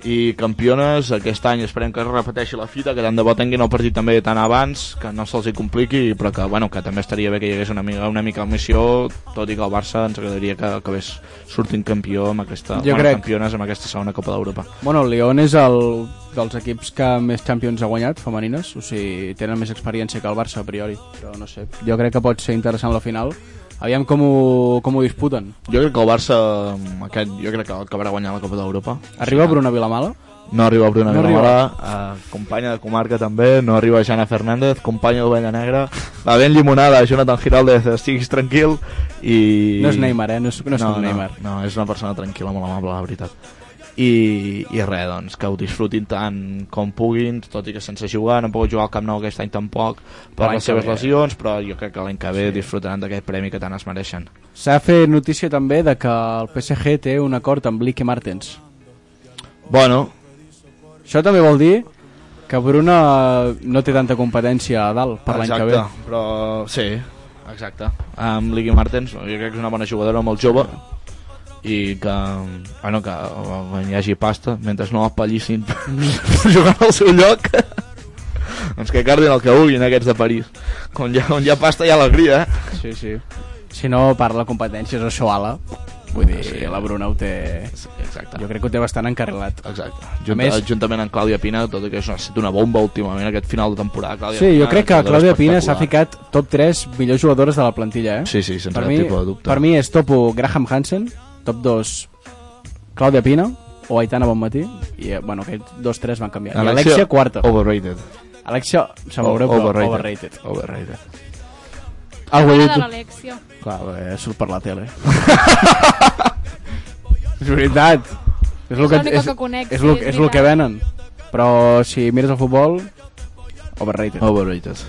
[SPEAKER 7] i campiones aquest any esperem que es repeteixi la fita que tant de bo tinguin el partit també tan abans que no se'ls hi compliqui però que, bueno, que també estaria bé que hi hagués una mica, una mica de missió tot i que el Barça ens agradaria que acabés sortint campió amb aquesta,
[SPEAKER 6] Jo
[SPEAKER 7] bueno,
[SPEAKER 6] crec.
[SPEAKER 7] campiones amb aquesta segona Copa d'Europa
[SPEAKER 6] Bueno, el Lyon és el dels equips que més Champions ha guanyat, femenines, o sigui, tenen més experiència que el Barça, a priori, però no sé. Jo crec que pot ser interessant la final. Aviam com ho, com ho disputen.
[SPEAKER 7] jo crec que el Barça amb aquest, jo crec que acabarà guanyant la Copa d'Europa
[SPEAKER 6] Arriba Bruna Vilamala?
[SPEAKER 7] No arriba Bruna
[SPEAKER 6] No
[SPEAKER 7] no
[SPEAKER 6] arriba.
[SPEAKER 7] Vilamala, eh, companya de comarca també, no arriba Jana Fernández, companya d'Ovella Negra, va ben llimonada Jonathan Giraldez, estiguis tranquil i...
[SPEAKER 6] No és Neymar, eh? No és, no és
[SPEAKER 7] no,
[SPEAKER 6] com Neymar.
[SPEAKER 7] No, no, és una persona tranquil·la, molt amable, la veritat. I, i res, doncs, que ho disfrutin tant com puguin, tot i que sense jugar, no han pogut jugar al Camp Nou aquest any tampoc per
[SPEAKER 6] L'any
[SPEAKER 7] les
[SPEAKER 6] que
[SPEAKER 7] seves
[SPEAKER 6] ve.
[SPEAKER 7] lesions, però jo crec que l'any que ve disfrutaran d'aquest premi que tant es mereixen.
[SPEAKER 6] S'ha fet notícia també de que el PSG té un acord amb Lique Martens.
[SPEAKER 7] Bueno,
[SPEAKER 6] Això també vol dir Que Bruna no té tanta competència a dalt per l'any que ve.
[SPEAKER 7] Exacte, però sí, exacte. Amb Liggy Martens, jo crec que és una bona jugadora, molt jove, i que, bueno, que quan hi hagi pasta, mentre no apallissin jugant al seu lloc, doncs que cardin el que vulguin aquests de París. Quan hi ha, on hi ha pasta hi ha alegria, eh?
[SPEAKER 6] Sí, sí. Si no, per la competència és això ala. Vull dir,
[SPEAKER 7] Sí.
[SPEAKER 6] la Bruna ho té...
[SPEAKER 7] Exacte.
[SPEAKER 6] Jo crec que ho té bastant encarrilat.
[SPEAKER 7] Exacte.
[SPEAKER 6] A
[SPEAKER 7] Junta,
[SPEAKER 6] més-
[SPEAKER 7] més... Juntament amb Clàudia Pina, tot i que això ha estat una bomba últimament, aquest final de temporada. Clàudia
[SPEAKER 6] Sí, jo
[SPEAKER 7] Pina,
[SPEAKER 6] crec que
[SPEAKER 7] jugadora
[SPEAKER 6] Clàudia Pina s'ha
[SPEAKER 7] espectacular.
[SPEAKER 6] ficat top 3 millors jugadores de la plantilla, eh?
[SPEAKER 7] Sí, sí, sense
[SPEAKER 6] per
[SPEAKER 7] cap
[SPEAKER 6] mi,
[SPEAKER 7] tipus de dubte.
[SPEAKER 6] Per mi és top 1 Graham Hansen, top 2 Clàudia Pina, o Aitana Bonmatí, i eh, bueno, aquests dos tres van canviar. I Alexia quarta.
[SPEAKER 7] Overrated.
[SPEAKER 6] Alexia, se veureu, però
[SPEAKER 7] overrated. Ah,
[SPEAKER 6] overrated. overrated.
[SPEAKER 7] Overrated.
[SPEAKER 6] Algú ha
[SPEAKER 3] La de
[SPEAKER 6] dit...
[SPEAKER 3] l'Alexia.
[SPEAKER 6] Clar,
[SPEAKER 7] eh,
[SPEAKER 6] bé, surt per la tele. és veritat. És el
[SPEAKER 3] És
[SPEAKER 6] que,
[SPEAKER 3] l'única que conec,
[SPEAKER 6] és,
[SPEAKER 3] sí,
[SPEAKER 6] lo,
[SPEAKER 3] és
[SPEAKER 6] és el que
[SPEAKER 3] veritat.
[SPEAKER 6] venen. Però si mires el futbol, overrated.
[SPEAKER 7] Oh. Overrated.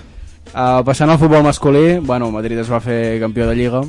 [SPEAKER 6] Uh, passant al futbol masculí, bueno, Madrid es va fer campió de Lliga.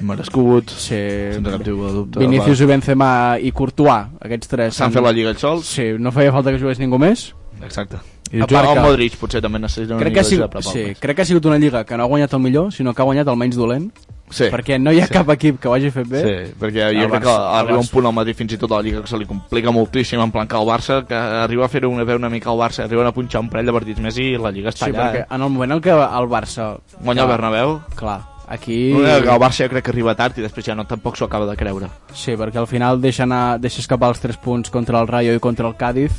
[SPEAKER 7] Merescut. Sí.
[SPEAKER 6] Sí,
[SPEAKER 7] Sense cap tipus de dubte.
[SPEAKER 6] Vinícius i Benzema i Courtois, aquests
[SPEAKER 7] Va.
[SPEAKER 6] tres.
[SPEAKER 7] S'han fet la lliga els sols.
[SPEAKER 6] Sí, no feia falta que jugués ningú més.
[SPEAKER 7] Exacte. I
[SPEAKER 6] A part
[SPEAKER 7] el
[SPEAKER 6] que-
[SPEAKER 7] Modric potser també necessita una
[SPEAKER 6] Crec que, ha
[SPEAKER 7] lliga
[SPEAKER 6] sigut, sí, crec que ha sigut una lliga que no ha guanyat el millor, sinó que ha guanyat el menys dolent,
[SPEAKER 7] sí.
[SPEAKER 6] perquè no hi ha cap equip que ho hagi fet bé.
[SPEAKER 7] Sí, perquè jo
[SPEAKER 6] El
[SPEAKER 7] crec que
[SPEAKER 6] Barça, el
[SPEAKER 7] arriba un
[SPEAKER 6] Barça.
[SPEAKER 7] punt al matí fins i tot a la Lliga que se li complica moltíssim en plan que el Barça, que arriba a fer-ho una veu una mica al Barça, arriben a punxar un parell de partits més i la Lliga està
[SPEAKER 6] Sí,
[SPEAKER 7] allà.
[SPEAKER 6] perquè en el moment en què el Barça...
[SPEAKER 7] Eh? Guanya el Bernabéu,
[SPEAKER 6] Clar, aquí...
[SPEAKER 7] No, no, que el Barça jo crec que arriba tard i després ja no tampoc s'ho acaba de creure.
[SPEAKER 6] Sí, perquè al final deixa, anar, deixa escapar els 3 punts contra el Rayo i contra el Cádiz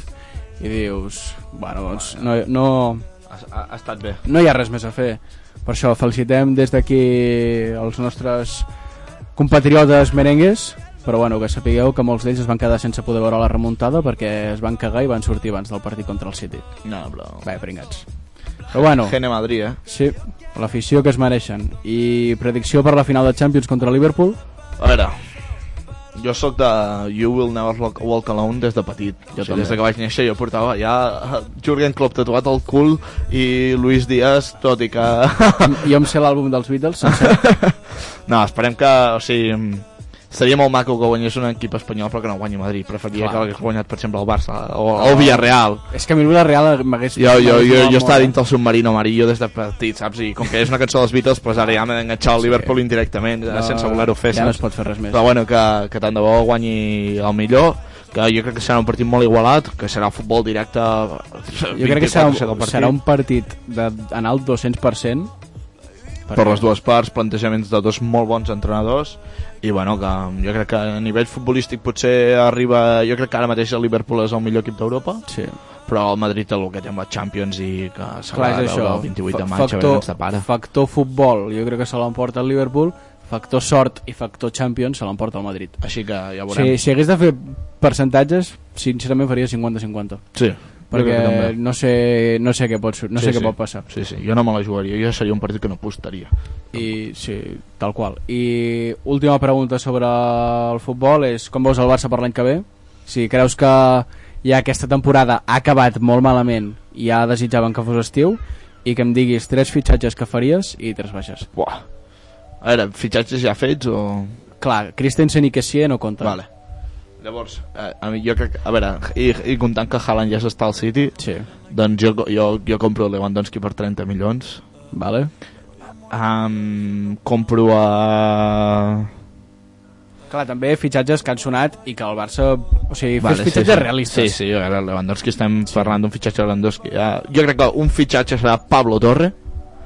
[SPEAKER 6] i dius, bueno, doncs no, no,
[SPEAKER 7] Ha, ha, ha estat bé.
[SPEAKER 6] no hi ha res més a fer. Per això felicitem des d'aquí els nostres compatriotes merengues, però bueno, que sapigueu que molts d'ells es van quedar sense poder veure la remuntada perquè es van cagar i van sortir abans del partit contra el City.
[SPEAKER 7] No, però...
[SPEAKER 6] Bé, pringats. Però bueno,
[SPEAKER 7] Gene Madrid, eh?
[SPEAKER 6] sí, l'afició que es mereixen. I predicció per la final de Champions contra el Liverpool?
[SPEAKER 7] A veure, jo sóc de You Will Never Walk, walk Alone des de petit. Jo sí,
[SPEAKER 6] també.
[SPEAKER 7] des de que vaig néixer jo portava ja eh, Jurgen Klopp tatuat al cul i Luis Díaz, tot i que...
[SPEAKER 6] Jo em sé l'àlbum dels Beatles, sencer.
[SPEAKER 7] no, esperem que... O sigui, seria molt maco que guanyés un equip espanyol però que no guanyi Madrid. Preferiria
[SPEAKER 6] Clar.
[SPEAKER 7] que l'hagués guanyat, per exemple, el Barça o el Villarreal.
[SPEAKER 6] És que a mi el Real m'hagués... eh?
[SPEAKER 7] Jo, jo, jo,
[SPEAKER 6] m'hagués
[SPEAKER 7] jo estava
[SPEAKER 6] molat
[SPEAKER 7] dins del submarino amarillo des de petit, saps? I com que és una cançó dels Beatles, pues ara ja m'he enganxat al Liverpool indirectament,
[SPEAKER 6] molt.
[SPEAKER 7] no, sense voler-ho fer,
[SPEAKER 6] Ja no
[SPEAKER 7] saps?
[SPEAKER 6] es pot fer res més.
[SPEAKER 7] Però bueno, que, que tant de bo guanyi el millor, que jo crec que serà un partit molt igualat, que serà futbol directe...
[SPEAKER 6] Jo crec que serà, un- serà
[SPEAKER 7] eh?
[SPEAKER 6] un partit d'anar al 200%.
[SPEAKER 7] Per les dues parts, plantejaments de dos molt bons entrenadors, i bueno, que jo crec que a nivell futbolístic potser arriba... Jo crec que ara mateix el Liverpool és el millor equip d'Europa,
[SPEAKER 6] Sí.
[SPEAKER 7] però el Madrid té el que té amb la Champions i que s'ha
[SPEAKER 6] Clar,
[SPEAKER 7] de
[SPEAKER 6] és
[SPEAKER 7] veure
[SPEAKER 6] això.
[SPEAKER 7] el 28
[SPEAKER 6] Fa-
[SPEAKER 7] de maig, a veure què ens depara.
[SPEAKER 6] factor futbol, jo crec que se l'emporta el Liverpool. Factor sort i factor Champions se l'emporta el Madrid.
[SPEAKER 7] Així que ja veurem.
[SPEAKER 6] Si, si hagués de fer percentatges, sincerament faria 50-50.
[SPEAKER 7] Sí,
[SPEAKER 6] Perquè no sé, no sé què pot, sur- no sé què pot passar.
[SPEAKER 7] Sí, sí, jo no me la jugaria, jo seria un partit que no apostaria.
[SPEAKER 6] I, sí, tal qual. I última pregunta sobre el futbol és com veus el Barça per l'any que ve? Si creus que ja aquesta temporada ha acabat molt malament i ja desitjaven que fos estiu i que em diguis tres fitxatges que faries i tres baixes.
[SPEAKER 7] Buah. A veure, fitxatges ja fets o...
[SPEAKER 6] Clar, Christensen i Kessie no compten.
[SPEAKER 7] Vale. Llavors, eh, a mi jo crec... A veure, i, i comptant que Haaland ja s'està al City,
[SPEAKER 6] Sí,
[SPEAKER 7] doncs jo, jo, jo compro Lewandowski per 30 milions.
[SPEAKER 6] vale.
[SPEAKER 7] Um, compro a...
[SPEAKER 6] Clar, també fitxatges que han sonat i que el Barça... O sigui, vale, fes fitxatges
[SPEAKER 7] sí, sí.
[SPEAKER 6] realistes.
[SPEAKER 7] Sí, sí, a veure, Lewandowski, estem parlant d'un fitxatge de Lewandowski. Uh, jo crec que un fitxatge serà Pablo Torre,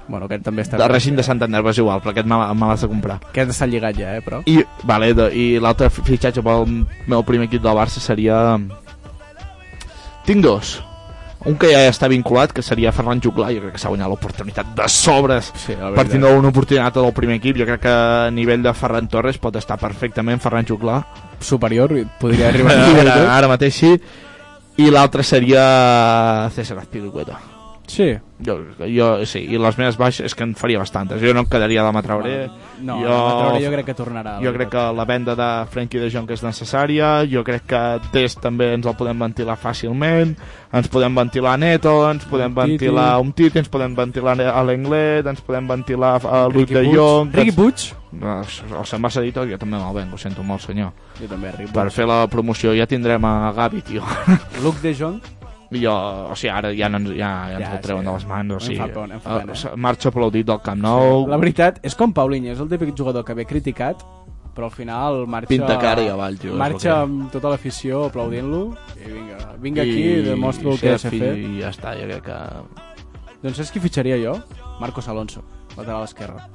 [SPEAKER 6] Bueno, aquest també està...
[SPEAKER 7] de règim de Santander, però és igual, però aquest me l'ha- me l'has de comprar.
[SPEAKER 6] Aquest està lligat ja, eh, però...
[SPEAKER 7] I, vale, de, i l'altre fitxatge pel meu primer equip del Barça seria... Tinc dos. Un que ja està vinculat, que seria Ferran Juclar, jo crec que s'ha guanyat l'oportunitat de sobres
[SPEAKER 6] Sí, la
[SPEAKER 7] partint d'una oportunitat del primer equip. Jo crec que a nivell de Ferran Torres pot estar perfectament Ferran Juclar.
[SPEAKER 6] Superior, i podria arribar a eh?
[SPEAKER 7] Ara, ara mateix sí. I l'altre seria César Azpilicueta.
[SPEAKER 6] Sí,
[SPEAKER 7] Jo, jo, sí, i les meves baixes és que en faria bastantes. Jo no em quedaria de Matraoré.
[SPEAKER 6] No,
[SPEAKER 7] Jo-
[SPEAKER 6] jo... Traoré jo crec que tornarà.
[SPEAKER 7] Jo crec que la venda de Frenkie de Jong és necessària, jo crec que Test també ens el podem ventilar fàcilment, ens podem ventilar Neto, ens podem
[SPEAKER 6] Titi.
[SPEAKER 7] ventilar un Titi, ens podem ventilar a l'Englet, ens podem ventilar a Luis
[SPEAKER 6] Ricky
[SPEAKER 7] de
[SPEAKER 6] Puig.
[SPEAKER 7] Jong...
[SPEAKER 6] Ricky Puig?
[SPEAKER 7] No, El Sant Barça dit, jo també me'l venc, ho sento molt, senyor.
[SPEAKER 6] Jo també, Ricky
[SPEAKER 7] Per fer la promoció ja tindrem a Gavi, tio.
[SPEAKER 6] Puig. Luke de Jong?
[SPEAKER 7] jo, o sigui, ara ja, no ens, ja, ja ens
[SPEAKER 6] Ja,
[SPEAKER 7] ja, el treuen
[SPEAKER 6] sí.
[SPEAKER 7] sí. de les mans, o
[SPEAKER 6] Em
[SPEAKER 7] sigui...
[SPEAKER 6] fa por, em fa pena.
[SPEAKER 7] eh, marxo aplaudit del Camp Nou,
[SPEAKER 6] La veritat, és com Paulinho, és el típic jugador que ve criticat, però al final marxa...
[SPEAKER 11] Pinta cara i avall, tio, és el
[SPEAKER 6] Marxa
[SPEAKER 11] que-
[SPEAKER 6] amb tota l'afició aplaudint-lo i vinga, vinga
[SPEAKER 11] I-
[SPEAKER 6] aquí i demostra el
[SPEAKER 11] sí,
[SPEAKER 6] que sé
[SPEAKER 11] fi-
[SPEAKER 6] fer.
[SPEAKER 11] I ja està, jo crec que...
[SPEAKER 6] Doncs saps qui fitxaria jo? Marcos Alonso, lateral esquerra.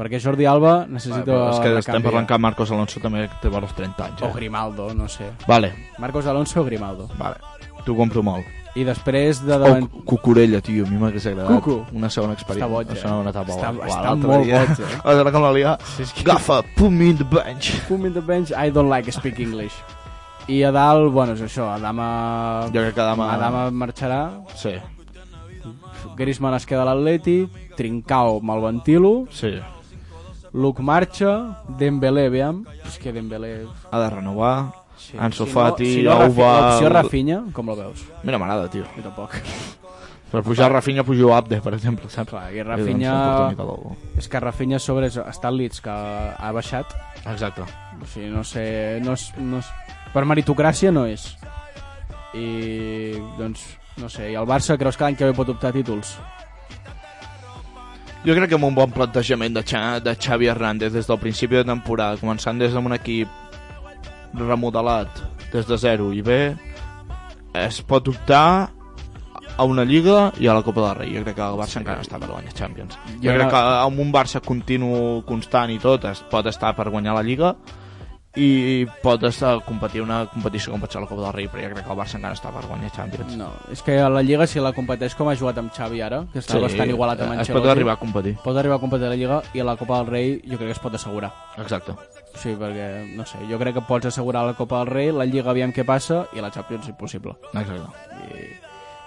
[SPEAKER 6] Perquè Jordi Alba
[SPEAKER 7] Ah,
[SPEAKER 6] necessita...
[SPEAKER 7] però és que
[SPEAKER 6] una
[SPEAKER 7] estem
[SPEAKER 6] canvia.
[SPEAKER 7] parlant que Marcos Alonso també té vora els 30 anys.
[SPEAKER 6] O
[SPEAKER 7] Eh?
[SPEAKER 6] Grimaldo, no sé.
[SPEAKER 7] Vale,
[SPEAKER 6] Marcos Alonso o Grimaldo.
[SPEAKER 7] vale. T'ho compro molt. Oh,
[SPEAKER 6] I després de
[SPEAKER 11] O
[SPEAKER 6] davant...
[SPEAKER 11] cu- Cucurella, tio, a mi m'hagués agradat.
[SPEAKER 6] Cucu.
[SPEAKER 11] Una segona experiència.
[SPEAKER 6] Està boig, eh?
[SPEAKER 11] Una segona etapa.
[SPEAKER 6] Està-
[SPEAKER 11] Uau,
[SPEAKER 6] està
[SPEAKER 11] l'altre
[SPEAKER 6] molt
[SPEAKER 11] dia.
[SPEAKER 6] boig, eh?
[SPEAKER 7] A veure com la lia. Agafa, put me in the bench.
[SPEAKER 6] Boom in the bench, I don't like speak English. I a dalt, bueno, és això, Adama...
[SPEAKER 7] Jo crec que Adama-
[SPEAKER 6] Adama marxarà,
[SPEAKER 7] Sí,
[SPEAKER 6] Griezmann es queda a l'Atleti, Trincao me'l ventilo,
[SPEAKER 7] sí.
[SPEAKER 6] Luke marxa, Dembélé, veiem, és que Dembélé...
[SPEAKER 7] Ha de renovar. Sí. Ansu Fati,
[SPEAKER 6] si no, Rafi-
[SPEAKER 7] Auba...
[SPEAKER 6] L'opció Rafinha, com la veus?
[SPEAKER 7] Mira, m'agrada, tio.
[SPEAKER 6] Jo tampoc.
[SPEAKER 7] Per pujar Rafinha, pujo Abde, per exemple, saps?
[SPEAKER 6] Clar, i
[SPEAKER 7] Li dones
[SPEAKER 6] Rafinha...
[SPEAKER 7] l'oportunitat doncs, a algú.
[SPEAKER 6] És que Rafinha a sobre és- està al Leeds, que ha baixat.
[SPEAKER 7] Exacte.
[SPEAKER 6] O sigui, no sé... No és, no és... Per meritocràcia no és. I, doncs, no sé, i el Barça creus que l'any que ve pot optar a títols?
[SPEAKER 7] Jo crec que amb un bon plantejament de, Xa, de Xavi Hernández des del principi de temporada, començant des d'un equip remodelat des de zero i bé, es pot optar a una Lliga i a la Copa del Rei. Jo crec que el Barça sí. encara està per guanyar Champions. Jo,
[SPEAKER 6] Jo
[SPEAKER 7] jo crec
[SPEAKER 6] no-
[SPEAKER 7] que amb un Barça continu, constant i tot, es pot estar per guanyar la Lliga i pot estar a competir una competició com pot ser la Copa del Rei, però jo crec que el Barça encara està per guanyar Champions.
[SPEAKER 6] No, és que a la Lliga si la competeix com ha jugat amb Xavi ara, que està bastant igualat amb
[SPEAKER 7] es
[SPEAKER 6] Ancelotti.
[SPEAKER 7] pot arribar a competir.
[SPEAKER 6] pot arribar a competir a la Lliga i a la Copa del Rei jo crec que es pot assegurar.
[SPEAKER 7] Exacte.
[SPEAKER 6] Sí, perquè, no sé, jo crec que pots assegurar la Copa del Rei, la Lliga aviam què passa i la Champions impossible.
[SPEAKER 7] Exacte.
[SPEAKER 6] I,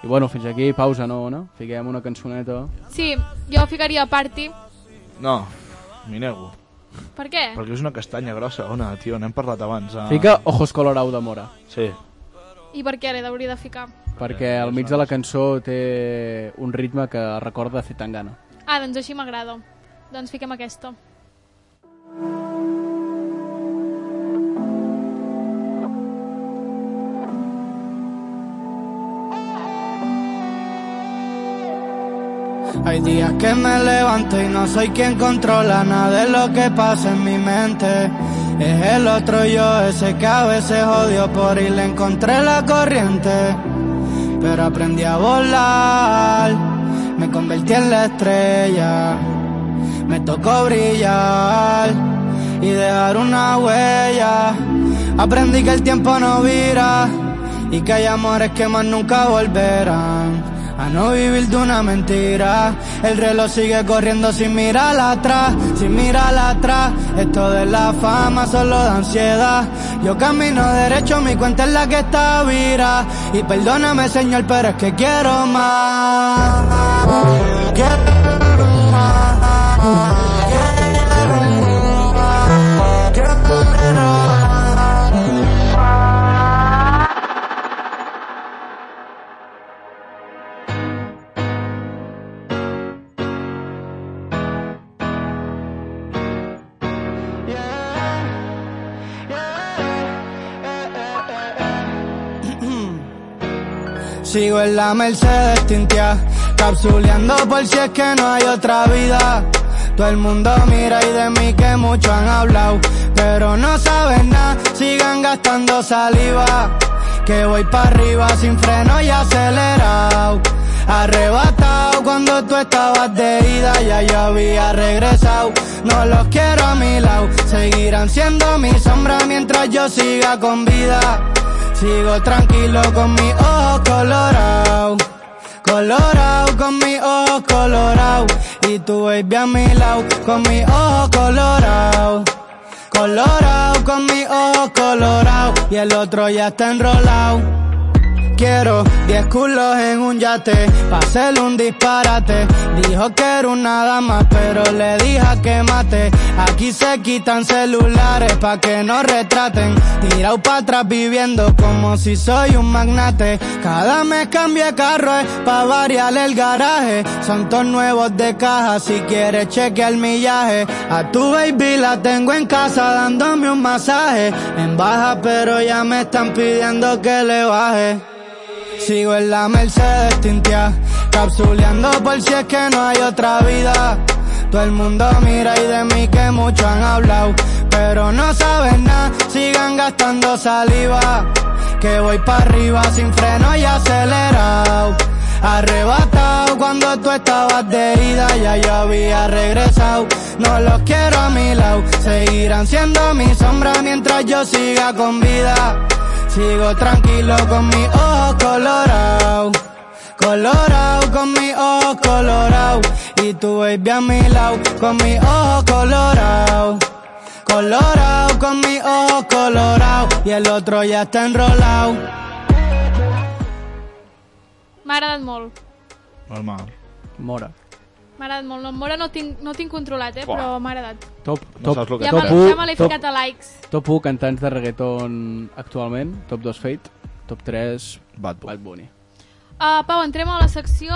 [SPEAKER 6] i bueno, fins aquí, pausa, no, no? Fiquem una cançoneta.
[SPEAKER 3] Sí, jo ficaria Party.
[SPEAKER 7] No, m'hi nego.
[SPEAKER 3] Per què?
[SPEAKER 7] Perquè és una castanya grossa, Ona, tio, n'hem parlat abans. Eh?
[SPEAKER 6] Fica Ojos Colorau de Mora,
[SPEAKER 7] Sí.
[SPEAKER 3] I per què l'he d'hauria de ficar?
[SPEAKER 6] perquè al mig de la cançó té un ritme que recorda Zetangana.
[SPEAKER 3] Ah, doncs així m'agrada. Doncs fiquem aquesta.
[SPEAKER 10] Hay días que me levanto y no soy quien controla nada de lo que pasa en mi mente. Es el otro yo, ese que a veces odio por y le encontré la corriente. Pero aprendí a volar, me convertí en la estrella. Me tocó brillar y dejar una huella. Aprendí que el tiempo no vira y que hay amores que más nunca volverán. A no vivir de una mentira. El reloj sigue corriendo sin mirar atrás, sin mirar atrás. Esto de la fama solo da ansiedad. Yo camino derecho, mi cuenta es la que está vira. Y perdóname, señor, pero es que quiero más. Quiero más. Sigo en la Mercedes tintia, capsuleando por si es que no hay otra vida. Todo el mundo mira y de mí que mucho han hablado, pero no saben nada, sigan gastando saliva. Que voy para arriba sin freno y acelerado. Arrebatado cuando tú estabas de ida, ya yo había regresado. No los quiero a mi lado, seguirán siendo mi sombra mientras yo siga con vida. Sigo tranquilo con mi ojo colorado. Colorado con mi ojo colorado. Y tu baby a mi lado con mi ojo colorado. Colorado con mi ojo colorado. Y el otro ya está enrolado. Quiero 10 culos en un yate, pa' hacerle un disparate. Dijo que era una dama, pero le dije que mate. Aquí se quitan celulares pa' que no retraten. Tirado pa' atrás viviendo como si soy un magnate. Cada mes cambié carro, es pa' variar el garaje. Son todos nuevos de caja, si quieres chequea el millaje. A tu baby la tengo en casa dándome un masaje. En baja, pero ya me están pidiendo que le baje. Sigo en la Mercedes tintia, capsuleando por si es que no hay otra vida. Todo el mundo mira y de mí que mucho han hablado, pero no saben nada, sigan gastando saliva. Que voy para arriba sin freno y acelerado. Arrebatado cuando tú estabas de herida, ya yo había regresado. No los quiero a mi lado, seguirán siendo mi sombra mientras yo siga con vida. Sigo tranquilo con mi ojo colorado. Colorado con mi ojo colorado. Y tu baby a mi lado con mi ojo colorado. Colorado con mi ojo colorado. Y el otro ya está enrolado.
[SPEAKER 3] M'ha agradat molt.
[SPEAKER 7] Normal.
[SPEAKER 6] Mora.
[SPEAKER 3] M'ha agradat molt. No, Mora no tinc, no tinc controlat, eh,
[SPEAKER 6] Buah.
[SPEAKER 3] però m'ha agradat.
[SPEAKER 6] Top,
[SPEAKER 7] No
[SPEAKER 6] top,
[SPEAKER 7] saps lo que
[SPEAKER 3] Ja
[SPEAKER 6] top,
[SPEAKER 3] me-
[SPEAKER 6] u,
[SPEAKER 3] ja me l'he
[SPEAKER 6] top-
[SPEAKER 3] ficat a likes.
[SPEAKER 6] Top 1 cantants de reggaeton actualment, top 2 Fate, top 3
[SPEAKER 7] Bad Bunny.
[SPEAKER 6] Bad Bunny.
[SPEAKER 3] Uh, Pau, entrem a la secció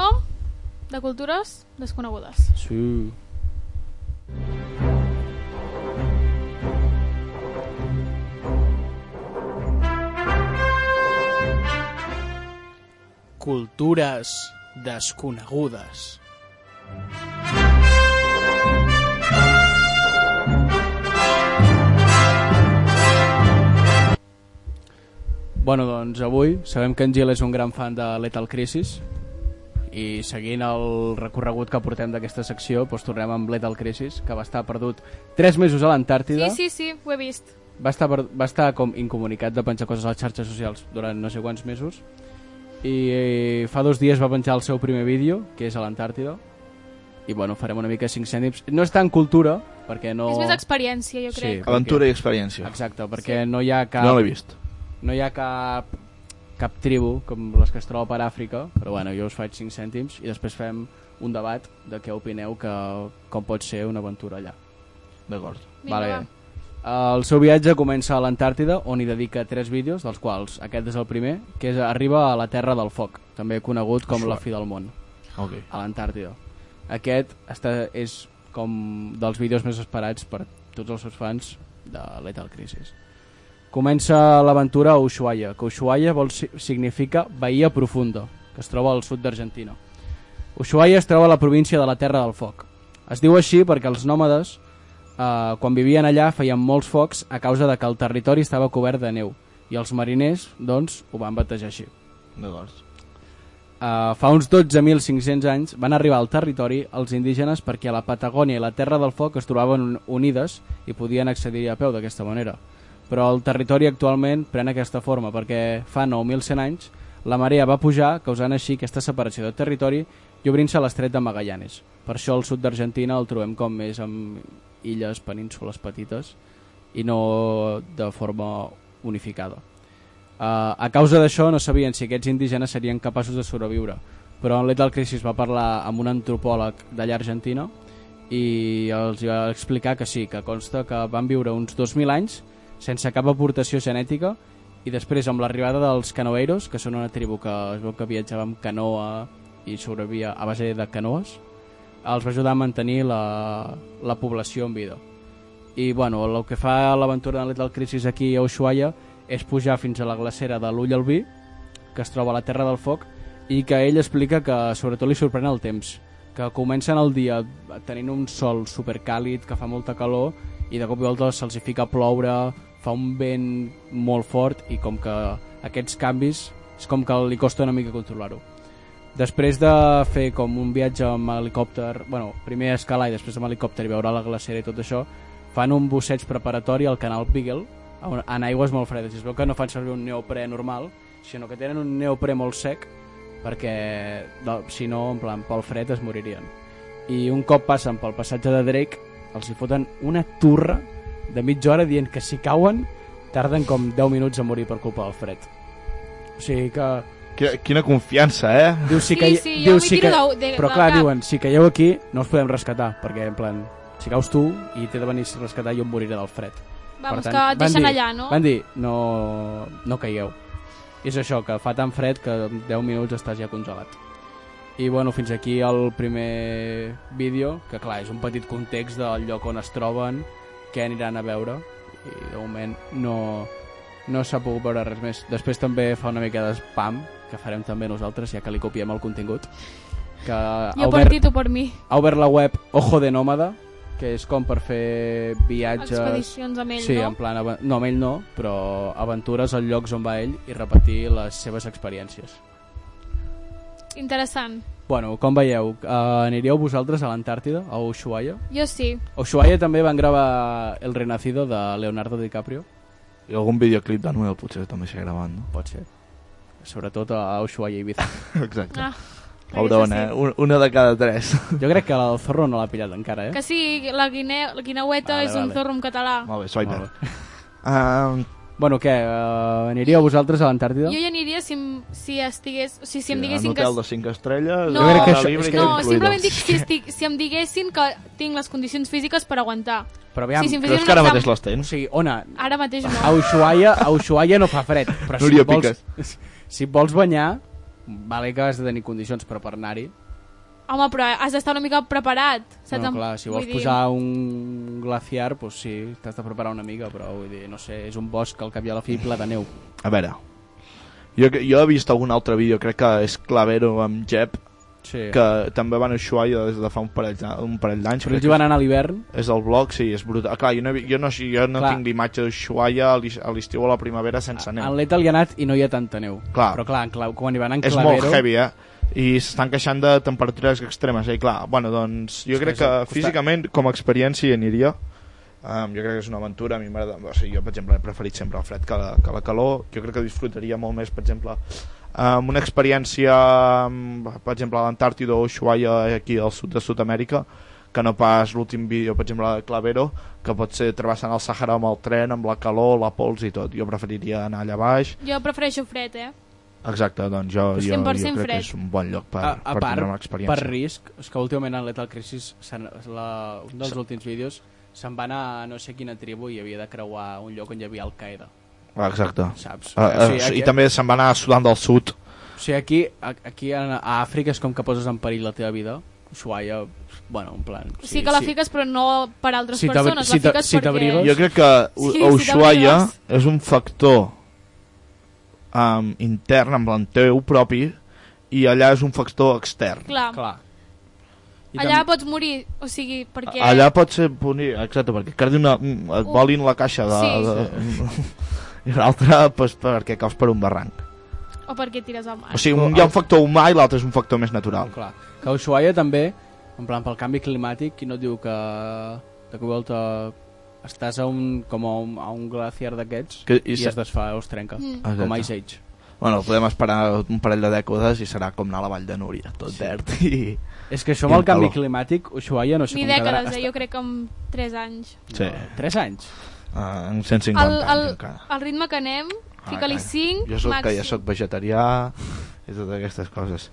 [SPEAKER 3] de cultures desconegudes.
[SPEAKER 6] Sí. Cultures desconegudes. Bueno, doncs avui sabem que en Gil és un gran fan de Lethal Crisis i seguint el recorregut que portem d'aquesta secció doncs tornem amb Lethal Crisis que va estar perdut 3 mesos a l'Antàrtida
[SPEAKER 3] Sí, sí, sí, ho he vist.
[SPEAKER 6] va estar, per, va estar com incomunicat de penjar coses a les xarxes socials durant no sé quants mesos i eh, fa dos dies va penjar el seu primer vídeo que és a l'Antàrtida i bueno, farem una mica 5 cèntims no és tan cultura perquè no...
[SPEAKER 3] És més experiència, jo crec.
[SPEAKER 6] perquè-
[SPEAKER 7] Aventura i experiència.
[SPEAKER 6] Exacte, perquè sí. no hi ha cap...
[SPEAKER 7] No l'he vist.
[SPEAKER 6] No hi ha cap, cap tribu com les que es troba per Àfrica, però bueno, jo us faig 5 cèntims i després fem un debat de què opineu que com pot ser una aventura allà.
[SPEAKER 7] D'acord.
[SPEAKER 3] Vinga, va.
[SPEAKER 6] El seu viatge comença a l'Antàrtida, on hi dedica tres vídeos, dels quals aquest és el primer, que és Arriba a la Terra del Foc, també conegut com
[SPEAKER 7] Això.
[SPEAKER 6] la fi del món
[SPEAKER 7] Ok.
[SPEAKER 6] a l'Antàrtida. Aquest està, és com dels vídeos més esperats per tots els seus fans de Lethal Crisis. Comença l'aventura a Ushuaia, que Ushuaia vol si- significa Bahia Profunda, que es troba al sud d'Argentina. Ushuaia es troba a la província de la Terra del Foc. Es diu així perquè els nòmades, eh, quan vivien allà, feien molts focs a causa de que el territori estava cobert de neu, i els mariners, doncs, ho van batejar així.
[SPEAKER 7] D'acord.
[SPEAKER 6] Uh, fa uns 12.500 anys van arribar al territori els indígenes perquè la Patagònia i la Terra del Foc es trobaven un- unides i podien accedir a peu d'aquesta manera. Però el territori actualment pren aquesta forma perquè fa 9.100 anys la marea va pujar, causant així aquesta separació de territori i obrint-se l'estret de Magallanes. Per això al sud d'Argentina el trobem com més amb illes, penínsules petites i no de forma unificada. Uh, a causa d'això no sabien si aquests indígenes serien capaços de sobreviure, però en Lethal Crisis va parlar amb un antropòleg d'allà argentina i els hi va explicar que sí, que consta que van viure uns 2.000 anys sense cap aportació genètica i després amb l'arribada dels canoeiros, que són una tribu que es veu que viatjava amb canoa i sobrevia a base de canoes, els va ajudar a mantenir la, la població en vida. I, bueno, el que fa l'aventura de Lethal Crisis aquí a Ushuaia és pujar fins a la glacera de l'Ull al Vi, que es troba a la Terra del Foc, i que ell explica que sobretot li sorprèn el temps, que comencen el dia tenint un sol supercàlid que fa molta calor i de cop i volta se'ls hi fica a ploure, fa un vent molt fort i com que aquests canvis és com que li costa una mica controlar-ho. Després de fer com un viatge amb helicòpter, bueno, primer escalar i després amb helicòpter i veure la glacera i tot això, fan un busseig preparatori al canal Beagle a un- en aigües molt fredes. I es veu que no fan servir un neoprè normal, sinó que tenen un neoprè molt sec perquè no, si no, en plan, pel fred es moririen. I un cop passen pel passatge de Drake, els hi foten una turra de mitja hora dient que si cauen tarden com 10 minuts a morir per culpa del fred. O sigui que
[SPEAKER 7] Quina, quina confiança, eh?
[SPEAKER 6] Diu sí que...
[SPEAKER 3] Sí,
[SPEAKER 6] hi-
[SPEAKER 3] sí, jo
[SPEAKER 6] diu
[SPEAKER 3] m'hi tiro de- de-
[SPEAKER 6] però
[SPEAKER 3] del
[SPEAKER 6] clar,
[SPEAKER 3] cap.
[SPEAKER 6] diuen, si caieu aquí no us podem rescatar, perquè en plan, si caus tu i t'he de venir a rescatar jo em moriré del fred.
[SPEAKER 3] Vamos,
[SPEAKER 6] Per
[SPEAKER 3] que et
[SPEAKER 6] van
[SPEAKER 3] deixen
[SPEAKER 6] dir,
[SPEAKER 3] allà, no?
[SPEAKER 6] Van dir, no, no caigueu. I és això, que fa tan fred que en 10 minuts estàs ja congelat. I bueno, fins aquí el primer vídeo, que clar, és un petit context del lloc on es troben, què aniran a veure, i de moment no, no s'ha pogut veure res més. Després també fa una mica de spam, que farem també nosaltres, ja que li copiem el contingut, que ha
[SPEAKER 3] Jo per
[SPEAKER 6] obert,
[SPEAKER 3] ti, tu per mi.
[SPEAKER 6] ha obert la web Ojo de Nòmada, que és com per fer viatges...
[SPEAKER 3] Expedicions amb ell,
[SPEAKER 6] sí,
[SPEAKER 3] no?
[SPEAKER 6] en plan... ava- No, amb ell no, però aventures als llocs on va ell i repetir les seves experiències.
[SPEAKER 3] Interessant.
[SPEAKER 6] Bueno, com veieu, eh, aniríeu vosaltres a l'Antàrtida, a Ushuaia?
[SPEAKER 3] Jo sí.
[SPEAKER 6] A Ushuaia també van gravar El Renacido de Leonardo DiCaprio.
[SPEAKER 7] I algun videoclip d'Anuel potser també s'ha gravat, no?
[SPEAKER 6] Pot ser. Sobretot a Ushuaia i Ibiza.
[SPEAKER 7] Exacte.
[SPEAKER 3] Ah,
[SPEAKER 7] Pobrón, eh? Un- Una de cada tres.
[SPEAKER 6] Jo crec que el zorro no l'ha pillat encara, eh?
[SPEAKER 3] Que sí, la, guine, la guineueta
[SPEAKER 6] Vale,
[SPEAKER 3] és un
[SPEAKER 6] vale.
[SPEAKER 3] zorro en català.
[SPEAKER 7] Molt bé, Swiper.
[SPEAKER 6] Um... Bueno, què? Uh, aniríeu vosaltres a l'Antàrtida?
[SPEAKER 3] Jo hi aniria si, em- si estigués... O sigui, si em
[SPEAKER 7] un
[SPEAKER 3] diguessin que...
[SPEAKER 7] hotel de 5 estrelles...
[SPEAKER 3] No,
[SPEAKER 7] hora
[SPEAKER 6] crec que això-
[SPEAKER 7] libre
[SPEAKER 6] és
[SPEAKER 7] i
[SPEAKER 6] que-
[SPEAKER 7] tot
[SPEAKER 3] No,
[SPEAKER 7] incluït.
[SPEAKER 3] simplement dic si, estic, si em diguessin que tinc les condicions físiques per aguantar.
[SPEAKER 6] Però aviam,
[SPEAKER 3] si, si em
[SPEAKER 7] Però
[SPEAKER 3] fessin
[SPEAKER 7] és
[SPEAKER 3] un
[SPEAKER 7] que ara
[SPEAKER 3] examen-
[SPEAKER 7] mateix les tens.
[SPEAKER 6] O sigui, Ona,
[SPEAKER 3] Ara mateix no.
[SPEAKER 6] a Ushuaia, a Ushuaia no fa fred. Però si
[SPEAKER 7] Núria,
[SPEAKER 6] et vols, si et vols banyar, vale que has de tenir condicions, però per anar-hi...
[SPEAKER 3] Home, però has d'estar una mica preparat. Saps?
[SPEAKER 6] Bueno, clar, si vols
[SPEAKER 3] Vull dir,
[SPEAKER 6] posar un glaciar, doncs sí, t'has de preparar una mica, però vull dir, no sé, és un bosc al cap i a la fi ple de neu.
[SPEAKER 7] A veure... Jo, jo he vist algun altre vídeo, crec que és Clavero amb Jeb,
[SPEAKER 6] Sí.
[SPEAKER 7] que també van a Ushuaia des de fa un parell, d'an- un parell d'anys.
[SPEAKER 6] Però
[SPEAKER 7] crec
[SPEAKER 6] ells
[SPEAKER 7] que
[SPEAKER 6] hi van anar a l'hivern,
[SPEAKER 7] És el blog, sí, és brutal. Clar, jo no, he vi- jo no, jo no
[SPEAKER 6] Clar.
[SPEAKER 7] tinc l'imatge de Ushuaia a l'is- a l'estiu o a la primavera sense neu.
[SPEAKER 6] en l'Etal hi ha anat i no hi ha tanta neu.
[SPEAKER 7] Clar.
[SPEAKER 6] Però clar, en clau, quan hi van en
[SPEAKER 7] És
[SPEAKER 6] Clavero...
[SPEAKER 7] molt heavy, eh? I s'estan queixant de temperatures extremes. eh? I clar, bueno, doncs jo crec que físicament, com a experiència, hi aniria. Um, jo crec que és una aventura, a mi m'agrada... O sigui, jo, per exemple, he preferit sempre el fred que la, que la calor. Jo crec que disfrutaria molt més, per exemple, um, una experiència, um, per exemple, a l'Antàrtida o Ushuaia, aquí al sud de Sud-amèrica, que no pas l'últim vídeo, per exemple, de Clavero, que pot ser travessant el Sahara amb el tren, amb la calor, la pols i tot. Jo preferiria anar allà baix,
[SPEAKER 3] Jo prefereixo fred, eh?
[SPEAKER 7] Exacte, doncs jo,
[SPEAKER 3] Però
[SPEAKER 7] jo, jo
[SPEAKER 3] 100%
[SPEAKER 7] crec que
[SPEAKER 3] fred.
[SPEAKER 7] és un bon lloc per,
[SPEAKER 6] a, a
[SPEAKER 7] per
[SPEAKER 6] part,
[SPEAKER 7] tindre una experiència.
[SPEAKER 6] per risc, és que últimament en Lethal Crisis, s'han- la, un dels últims vídeos, se'n va anar a no sé quina tribu i havia de creuar un lloc on hi havia Al-Qaeda,
[SPEAKER 7] Ah, Exacte.
[SPEAKER 6] saps?
[SPEAKER 7] Ah, ah,
[SPEAKER 6] o sigui,
[SPEAKER 7] I
[SPEAKER 6] aquí,
[SPEAKER 7] també se'n va anar a Sudan del Sud.
[SPEAKER 6] o sigui, aquí, a, aquí a, a Àfrica és com que poses en perill la teva vida, Ushuaia, bueno, en plan...
[SPEAKER 3] Sí, sí que la fiques, però no per altres
[SPEAKER 6] Si t'ab-
[SPEAKER 3] persones.
[SPEAKER 6] si
[SPEAKER 3] la
[SPEAKER 6] t'ab-
[SPEAKER 3] fiques
[SPEAKER 6] si
[SPEAKER 3] perquè...
[SPEAKER 6] t'abrigues-
[SPEAKER 7] Jo crec que U-
[SPEAKER 3] Sí, sí,
[SPEAKER 7] Ushuaia
[SPEAKER 3] t'abrigues.
[SPEAKER 7] és un factor um, intern, amb el teu propi, i allà és un factor extern.
[SPEAKER 3] Clar,
[SPEAKER 6] Clar. I
[SPEAKER 3] allà
[SPEAKER 6] també-
[SPEAKER 3] pots morir, o sigui, perquè...
[SPEAKER 7] Ah, Allà pot ser... Punir, exacte, perquè et, cardi una, un- et
[SPEAKER 3] Un-
[SPEAKER 7] volin la caixa de,
[SPEAKER 3] Sí.
[SPEAKER 7] de, i l'altra pues, perquè caus per un barranc.
[SPEAKER 3] O perquè tires al mar.
[SPEAKER 7] O sigui, un,
[SPEAKER 6] Ah,
[SPEAKER 7] hi ha un factor humà i l'altre és un factor més natural.
[SPEAKER 6] Clar. Que a Ushuaia també, en plan, pel canvi climàtic, qui no et diu que de cop i volta estàs a un, com a un, a un glaciar d'aquests
[SPEAKER 7] Que- i
[SPEAKER 6] i,
[SPEAKER 7] se-
[SPEAKER 6] es desfà o es trenca,
[SPEAKER 3] Mm.
[SPEAKER 6] com
[SPEAKER 7] Exacte.
[SPEAKER 6] Ice Age.
[SPEAKER 7] Bueno, podem esperar un parell de dècades i serà com anar a la vall de Núria, tot sí. verd i...
[SPEAKER 6] És que això
[SPEAKER 7] I
[SPEAKER 6] amb el
[SPEAKER 7] amb
[SPEAKER 6] canvi
[SPEAKER 7] calor.
[SPEAKER 6] climàtic, Ushuaia no sé
[SPEAKER 3] Ni
[SPEAKER 6] com quedarà.
[SPEAKER 3] dècades, eh? Jo crec que amb 3 anys.
[SPEAKER 7] Sí,
[SPEAKER 6] Tres anys?
[SPEAKER 7] uh, en 150
[SPEAKER 3] El, el,
[SPEAKER 7] anys encara.
[SPEAKER 3] el ritme que anem, fica-li
[SPEAKER 7] Ah,
[SPEAKER 3] 5,
[SPEAKER 7] Jo soc
[SPEAKER 3] màxim.
[SPEAKER 7] que ja soc vegetarià i totes aquestes coses.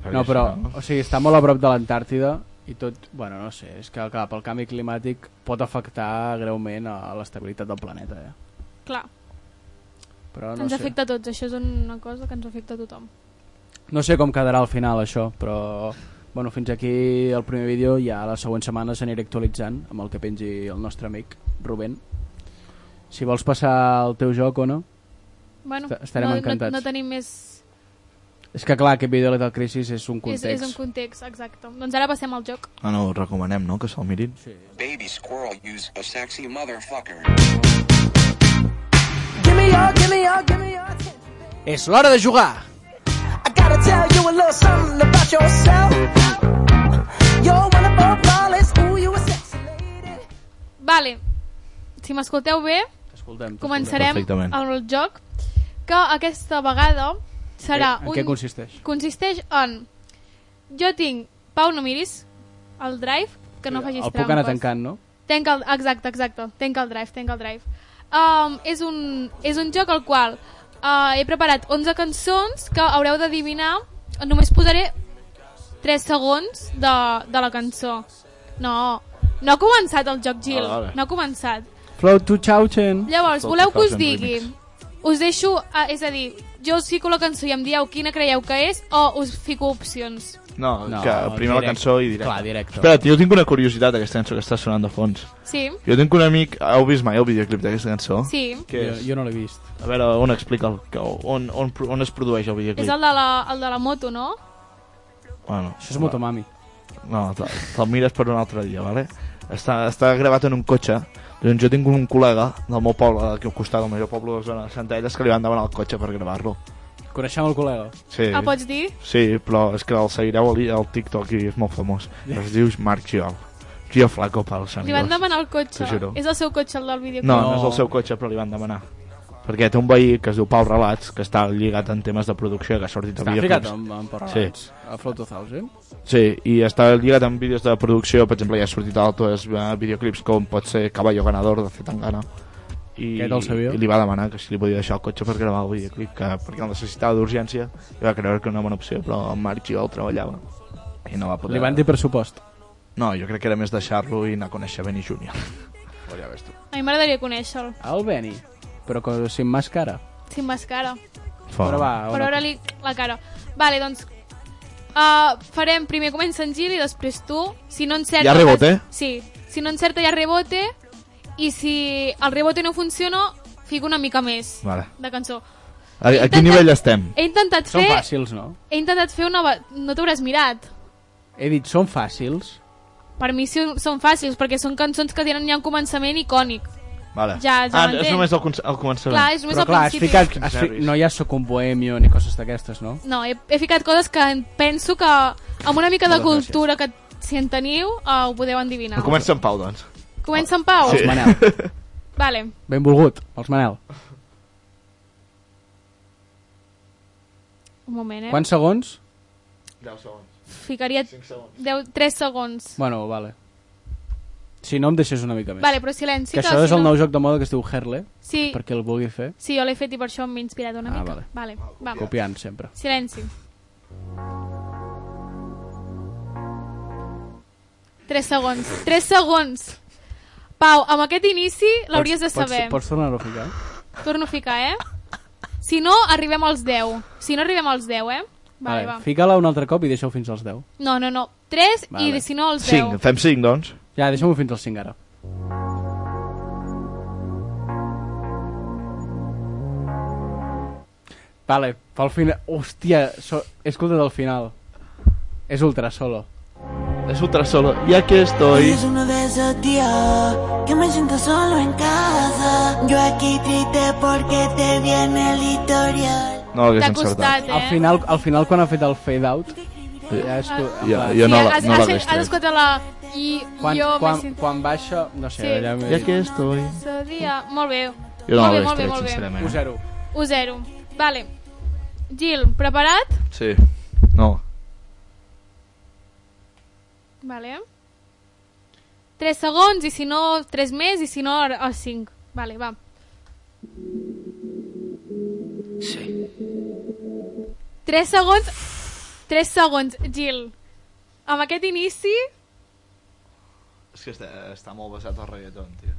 [SPEAKER 6] No, però,
[SPEAKER 7] si
[SPEAKER 6] o sigui, està molt a prop de l'Antàrtida i tot, bueno, no sé, és que clar, pel canvi climàtic pot afectar greument a l'estabilitat del planeta, eh?
[SPEAKER 3] Clar,
[SPEAKER 6] Però no
[SPEAKER 3] ens
[SPEAKER 6] sé.
[SPEAKER 3] afecta a tots, això és una cosa que ens afecta a tothom.
[SPEAKER 6] no sé com quedarà al final això, però bueno, fins aquí el primer vídeo, ja la següent setmana s'aniré actualitzant amb el que pengi el nostre amic Rubén. Si vols passar el teu joc o no?
[SPEAKER 3] Bueno,
[SPEAKER 6] Est- estarem
[SPEAKER 3] no,
[SPEAKER 6] encantats.
[SPEAKER 3] No, no tenim més...
[SPEAKER 6] És que clar, aquest vídeo de la Crisis és un
[SPEAKER 3] És,
[SPEAKER 6] context.
[SPEAKER 3] és un context, exacte. Doncs ara passem al joc.
[SPEAKER 7] Ah, No, no, us recomanem, no?, que se'l mirin. Sí.
[SPEAKER 12] Baby squirrel, use a sexy motherfucker.
[SPEAKER 13] Give me your, give me your, give me your. attention.
[SPEAKER 6] És l'hora de jugar!
[SPEAKER 13] I gotta tell you a little something about yourself. You're wonderful, flawless. Ooh, you a sexy lady.
[SPEAKER 3] Vale, si m'escolteu bé,
[SPEAKER 6] Escoltem.
[SPEAKER 3] començarem
[SPEAKER 7] Perfectament.
[SPEAKER 3] amb el joc, que aquesta vegada serà
[SPEAKER 6] En
[SPEAKER 3] un...
[SPEAKER 6] què consisteix?
[SPEAKER 3] consisteix en... Jo tinc... Pau, no miris el drive, que no facis
[SPEAKER 6] El
[SPEAKER 3] trampes.
[SPEAKER 6] puc anar tancant, no?
[SPEAKER 3] Tenca el, exacte, exacte. Tenca el drive, tenca el drive. Um, és, un, és un joc al qual uh, he preparat 11 cançons que haureu d'adivinar. Només posaré 3 segons de, de la cançó. No, no ha començat el joc, Gil.
[SPEAKER 6] Ah,
[SPEAKER 7] Vale, vale.
[SPEAKER 3] No ha començat.
[SPEAKER 6] Float to Chauchen.
[SPEAKER 3] Llavors,
[SPEAKER 7] Tot
[SPEAKER 3] voleu que us
[SPEAKER 7] Thousand
[SPEAKER 3] digui...
[SPEAKER 7] Remix.
[SPEAKER 3] Us ah, deixo, uh, és a dir, jo us fico la cançó i em dieu quina creieu que és o us fico opcions.
[SPEAKER 7] No,
[SPEAKER 6] No,
[SPEAKER 7] no que
[SPEAKER 6] directe.
[SPEAKER 7] primer la cançó i directe.
[SPEAKER 6] Clar, directe.
[SPEAKER 7] Espera, jo tinc una curiositat d'aquesta cançó que està sonant de fons.
[SPEAKER 3] Sí,
[SPEAKER 7] Jo tinc un amic... Heu vist mai el videoclip d'aquesta cançó?
[SPEAKER 3] sí.
[SPEAKER 7] Què
[SPEAKER 6] Jo,
[SPEAKER 7] és?
[SPEAKER 6] jo no l'he vist.
[SPEAKER 7] A veure, on explica'l? que- On, on, pro- on es produeix el videoclip?
[SPEAKER 3] És el de, la, el de la moto, no?
[SPEAKER 7] Bueno,
[SPEAKER 6] Això és Motomami.
[SPEAKER 7] No, te- te'l mires per un altre dia, vale? Està, està gravat en un cotxe. Doncs jo tinc un col·lega del meu poble, d'aquí al costat, del major poble de Zona de Centelles, que li van demanar el cotxe per gravar-lo.
[SPEAKER 6] Coneixem el col·lega.
[SPEAKER 7] Sí,
[SPEAKER 3] Sí. El Ah, pots dir?
[SPEAKER 7] sí, però és que el seguireu al, al TikTok i és molt famós. Es diu Marc Giol. Gio Flaco pels
[SPEAKER 3] Li van
[SPEAKER 7] amigos.
[SPEAKER 3] demanar el cotxe.
[SPEAKER 7] T'ho juro.
[SPEAKER 3] És el seu cotxe, el del videoclip.
[SPEAKER 7] No, no és el seu cotxe, però li van demanar. Perquè té un veí que es diu Pau Relats, que està lligat en temes de producció, que ha sortit a
[SPEAKER 6] Està ficat
[SPEAKER 7] videoclips.
[SPEAKER 6] amb, amb
[SPEAKER 7] Sí.
[SPEAKER 6] Porrelats. Sí. A Flow 2000.
[SPEAKER 7] Sí, i està lligat amb vídeos de producció, per exemple, ja ha sortit altres eh, videoclips com pot ser Caballo Ganador de Zetangana. I,
[SPEAKER 6] Aquest el sabia.
[SPEAKER 7] I li va demanar que si li podia deixar el cotxe per gravar el videoclip, que, perquè el necessitava d'urgència, i va creure que era una bona opció, però en Marc Giol treballava. I no va poder...
[SPEAKER 6] Li van dir per supost.
[SPEAKER 7] No, jo crec que era més deixar-lo i anar a conèixer Benny Junior. Però ja ves tu.
[SPEAKER 3] A mi m'agradaria conèixer-lo,
[SPEAKER 6] El Benny. Però que, sin màscara.
[SPEAKER 3] sin mascara.
[SPEAKER 6] Però va,
[SPEAKER 3] Per
[SPEAKER 6] una...
[SPEAKER 3] veure-li la cara. Vale, doncs... Uh, farem primer comença en Gil i després tu. Si no encerta...
[SPEAKER 7] Hi ha rebote?
[SPEAKER 3] Sí. Si no encerta hi ha rebote i si el rebote no funciona, fico una mica més
[SPEAKER 7] Vale.
[SPEAKER 3] de cançó.
[SPEAKER 7] A, a quin nivell estem?
[SPEAKER 3] He intentat
[SPEAKER 6] Són
[SPEAKER 3] fer...
[SPEAKER 6] fàcils, no?
[SPEAKER 3] He intentat fer una... va- No t'hauràs mirat.
[SPEAKER 6] He dit, són fàcils.
[SPEAKER 3] Per mi sí, són fàcils, perquè són cançons que tenen ja un començament icònic.
[SPEAKER 7] Vale.
[SPEAKER 3] Ja, ja
[SPEAKER 7] ah,
[SPEAKER 3] m'entenc.
[SPEAKER 7] és només el, conce- el començament.
[SPEAKER 3] Clar, és només
[SPEAKER 6] Però
[SPEAKER 3] al
[SPEAKER 6] clar, has
[SPEAKER 3] principi.
[SPEAKER 6] ficat, has fi...
[SPEAKER 7] Nervis.
[SPEAKER 6] no hi ha Soc un bohemio ni coses d'aquestes, no?
[SPEAKER 3] No, he, he ficat coses que penso que amb una mica de
[SPEAKER 7] Moltes
[SPEAKER 3] cultura que si en teniu uh, ho podeu endevinar.
[SPEAKER 7] Però Comença en pau, doncs.
[SPEAKER 3] Comença en Pau?
[SPEAKER 6] Els Manel.
[SPEAKER 3] Vale.
[SPEAKER 6] Benvolgut, els Manel.
[SPEAKER 3] Eh? Un moment, eh?
[SPEAKER 6] Quants segons?
[SPEAKER 7] 10 segons.
[SPEAKER 3] Ficaria
[SPEAKER 7] 5 segons.
[SPEAKER 3] 10, 3 segons.
[SPEAKER 6] Bueno, vale. Si no, em deixes una mica més.
[SPEAKER 3] Vale, però silenci.
[SPEAKER 6] que això
[SPEAKER 3] si
[SPEAKER 6] és el
[SPEAKER 3] no-
[SPEAKER 6] nou joc de moda que es diu Herle,
[SPEAKER 3] Sí,
[SPEAKER 6] perquè el vulgui fer,
[SPEAKER 3] sí, jo l'he fet i per això m'he inspirat una
[SPEAKER 6] Ah,
[SPEAKER 3] mica.
[SPEAKER 6] vale.
[SPEAKER 3] vale. Va.
[SPEAKER 6] copiant sempre.
[SPEAKER 3] Silenci. 3 segons. 3 segons. Pau, amb aquest inici l'hauries de
[SPEAKER 6] Pots-
[SPEAKER 3] saber.
[SPEAKER 6] Pots, pots tornar-ho a ficar?
[SPEAKER 3] Torno a ficar, eh? Si no, arribem als 10. Si no, arribem als 10, eh? Vale, va.
[SPEAKER 6] Fica-la un altre cop i deixa-ho fins als 10.
[SPEAKER 3] No, no, no. 3
[SPEAKER 6] Vale.
[SPEAKER 3] i si no, als 10.
[SPEAKER 7] 5, fem 5, doncs.
[SPEAKER 6] Ja, deixa-m'ho fins als 5 ara. Vale, pel final... Hòstia, so... he escoltat el final. És ultra solo.
[SPEAKER 7] Es ultra solo. Y aquí estoy.
[SPEAKER 5] Es uno de esos días que me siento solo en casa. Yo aquí triste porque te viene el historial.
[SPEAKER 7] No l'hagués
[SPEAKER 3] T'ha
[SPEAKER 7] encertat.
[SPEAKER 3] costat, eh?
[SPEAKER 6] Al final, al final quan ha fet el fade out, ja és... tu- en
[SPEAKER 7] Ja,
[SPEAKER 6] plan-
[SPEAKER 7] jo no
[SPEAKER 3] Sí,
[SPEAKER 7] la-
[SPEAKER 3] has,
[SPEAKER 7] eh. no
[SPEAKER 3] has,
[SPEAKER 7] l'hagués
[SPEAKER 3] has
[SPEAKER 7] tret.
[SPEAKER 3] escoltat la... I
[SPEAKER 6] quan,
[SPEAKER 3] jo
[SPEAKER 6] quan,
[SPEAKER 3] m'he sentit...
[SPEAKER 6] quan baixa, no sé,
[SPEAKER 3] Sí.
[SPEAKER 6] allà m'he
[SPEAKER 7] I
[SPEAKER 6] dit...
[SPEAKER 7] aquí estoy.
[SPEAKER 3] Quan... Dia... Molt bé.
[SPEAKER 7] Jo no
[SPEAKER 3] molt bé,
[SPEAKER 7] l'hagués
[SPEAKER 3] molt bé,
[SPEAKER 7] tret,
[SPEAKER 3] molt bé.
[SPEAKER 7] sincerament.
[SPEAKER 6] 1-0.
[SPEAKER 3] 1-0. Vale. Gil, preparat?
[SPEAKER 7] Sí. No.
[SPEAKER 3] Vale. 3 segons, i si no, 3 més, i si no, a 5. Vale, va.
[SPEAKER 14] Sí.
[SPEAKER 3] 3 segons... 3 segons, Gil. Amb aquest inici...
[SPEAKER 7] És que està, està molt basat al reggaeton, tio.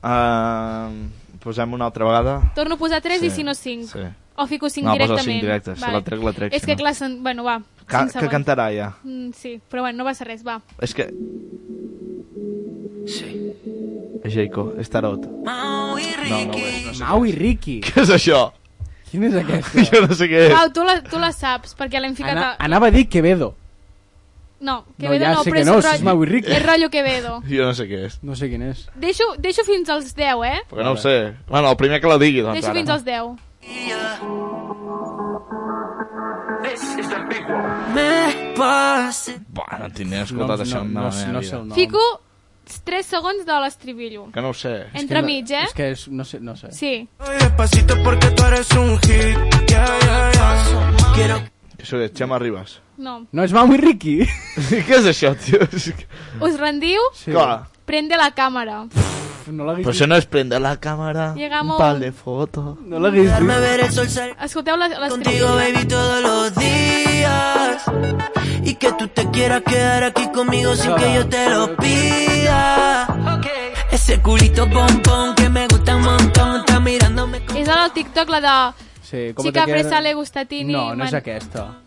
[SPEAKER 7] Uh, posem una altra vegada.
[SPEAKER 3] Torno a posar 3
[SPEAKER 7] Sí,
[SPEAKER 3] i si no 5.
[SPEAKER 7] sí.
[SPEAKER 3] O fico 5
[SPEAKER 7] No, posa
[SPEAKER 3] directament.
[SPEAKER 7] cinc directes, si la trec, la trec,
[SPEAKER 3] És
[SPEAKER 7] si
[SPEAKER 3] que
[SPEAKER 7] no.
[SPEAKER 3] clar, sen... bueno, va.
[SPEAKER 7] Ca
[SPEAKER 3] cinc
[SPEAKER 7] que
[SPEAKER 3] segons.
[SPEAKER 7] cantarà ja.
[SPEAKER 3] Mm, sí, però bueno, no va ser res, va.
[SPEAKER 7] És que...
[SPEAKER 14] Sí.
[SPEAKER 7] És Jaco, és Tarot. No, no ho és. No sé.
[SPEAKER 6] Mau i Ricky.
[SPEAKER 7] Què és això?
[SPEAKER 6] Quin és aquest?
[SPEAKER 7] Jo no sé què és.
[SPEAKER 3] Pau, tu la, tu la saps, perquè l'hem ficat
[SPEAKER 6] Ana,
[SPEAKER 3] a...
[SPEAKER 6] anava a dir Quevedo.
[SPEAKER 3] No,
[SPEAKER 6] No,
[SPEAKER 3] Quevedo
[SPEAKER 6] ja
[SPEAKER 3] no,
[SPEAKER 6] sé
[SPEAKER 3] però
[SPEAKER 6] que
[SPEAKER 3] és,
[SPEAKER 6] no, si
[SPEAKER 3] rotllo,
[SPEAKER 6] és Mau i Ricky.
[SPEAKER 3] és rotllo Quevedo.
[SPEAKER 7] Jo no sé què és.
[SPEAKER 6] No sé quin és.
[SPEAKER 3] Deixo, deixo fins als 10, eh?
[SPEAKER 6] Doncs
[SPEAKER 7] Perquè no ho sé. Bueno, el primer que la digui, doncs
[SPEAKER 3] Deixo
[SPEAKER 7] ara.
[SPEAKER 3] fins als 10.
[SPEAKER 5] Me pasa.
[SPEAKER 7] Buah, no tinc ni
[SPEAKER 6] No, no,
[SPEAKER 7] escoltat això
[SPEAKER 6] no,
[SPEAKER 7] en
[SPEAKER 6] no,
[SPEAKER 7] la meva
[SPEAKER 6] no sé
[SPEAKER 7] vida.
[SPEAKER 6] el nom.
[SPEAKER 3] Fico 3 segons de l'estribillo.
[SPEAKER 7] Que no ho sé.
[SPEAKER 3] Entre mig, eh?
[SPEAKER 6] És que és, no sé, no sé.
[SPEAKER 3] Sí.
[SPEAKER 10] Despacito porque tú eres un hit. Yeah, yeah, yeah. Quiero
[SPEAKER 7] Això és Xema Ribas.
[SPEAKER 3] No.
[SPEAKER 6] No és Mau i Ricky?
[SPEAKER 7] què és això, tio? És que...
[SPEAKER 3] Us rendiu?
[SPEAKER 6] Sí.
[SPEAKER 7] Clar.
[SPEAKER 3] Prende la càmera.
[SPEAKER 6] No l'hagués
[SPEAKER 7] Però això no és prendre la càmera,
[SPEAKER 3] Llegamos.
[SPEAKER 7] un pal de foto...
[SPEAKER 6] dit. No l'hagués dit.
[SPEAKER 5] Darme ver el sol salir
[SPEAKER 3] Escolteu la-
[SPEAKER 5] contigo,
[SPEAKER 3] l'estribillo.
[SPEAKER 5] baby, todos los días. Y que tú te quieras quedar aquí conmigo sin que yo te lo pida. Ese culito pompón que me gusta un montón está mirándome con
[SPEAKER 3] És a la TikTok la de...
[SPEAKER 6] Sí, com
[SPEAKER 3] Chica
[SPEAKER 6] te quedes-
[SPEAKER 3] fresa le gusta a Tini,
[SPEAKER 6] No, no és
[SPEAKER 3] man.
[SPEAKER 6] aquesta.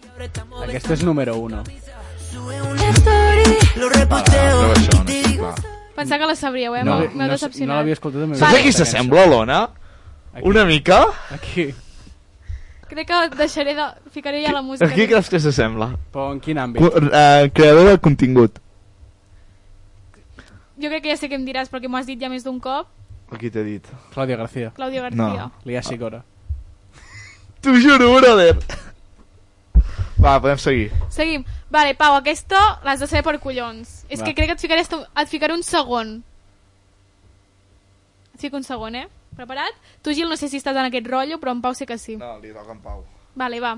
[SPEAKER 6] Aquesta és número 1.
[SPEAKER 5] Story.
[SPEAKER 15] Lo
[SPEAKER 7] Ah,
[SPEAKER 15] reposteo
[SPEAKER 7] no, això
[SPEAKER 15] y
[SPEAKER 7] no,
[SPEAKER 15] te digo
[SPEAKER 7] clar.
[SPEAKER 3] Pensava que la sabríeu, eh?
[SPEAKER 6] No,
[SPEAKER 3] M'heu
[SPEAKER 6] no,
[SPEAKER 3] m'heu
[SPEAKER 6] s- no
[SPEAKER 3] decepcionat.
[SPEAKER 6] l'havia escoltat. en
[SPEAKER 7] Saps
[SPEAKER 3] Vale.
[SPEAKER 7] a qui s'assembla, l'Ona?
[SPEAKER 6] Aquí.
[SPEAKER 7] Una mica?
[SPEAKER 6] Aquí.
[SPEAKER 3] Crec que deixaré de... Ficaré ja la música.
[SPEAKER 7] A qui creus que s'assembla?
[SPEAKER 6] Però en quin àmbit?
[SPEAKER 7] Cu- eh, Creador de contingut.
[SPEAKER 3] Jo crec que ja sé què em diràs perquè m'ho has dit ja més d'un cop.
[SPEAKER 7] Aquí t'he dit.
[SPEAKER 6] Clàudia García.
[SPEAKER 3] Claudio García.
[SPEAKER 7] No.
[SPEAKER 6] Lia Sicora.
[SPEAKER 7] T'ho juro, brother. Va, podem seguir.
[SPEAKER 3] Seguim. Vale, Pau, aquesta l'has de saber per collons. És
[SPEAKER 6] Va.
[SPEAKER 3] que crec que et ficaré, esto- et ficaré un segon. Et fico un segon, eh? Preparat? Tu, Gil, no sé si estàs en aquest rotllo, però en Pau sé que sí.
[SPEAKER 7] No, li toca en Pau.
[SPEAKER 3] Vale, va.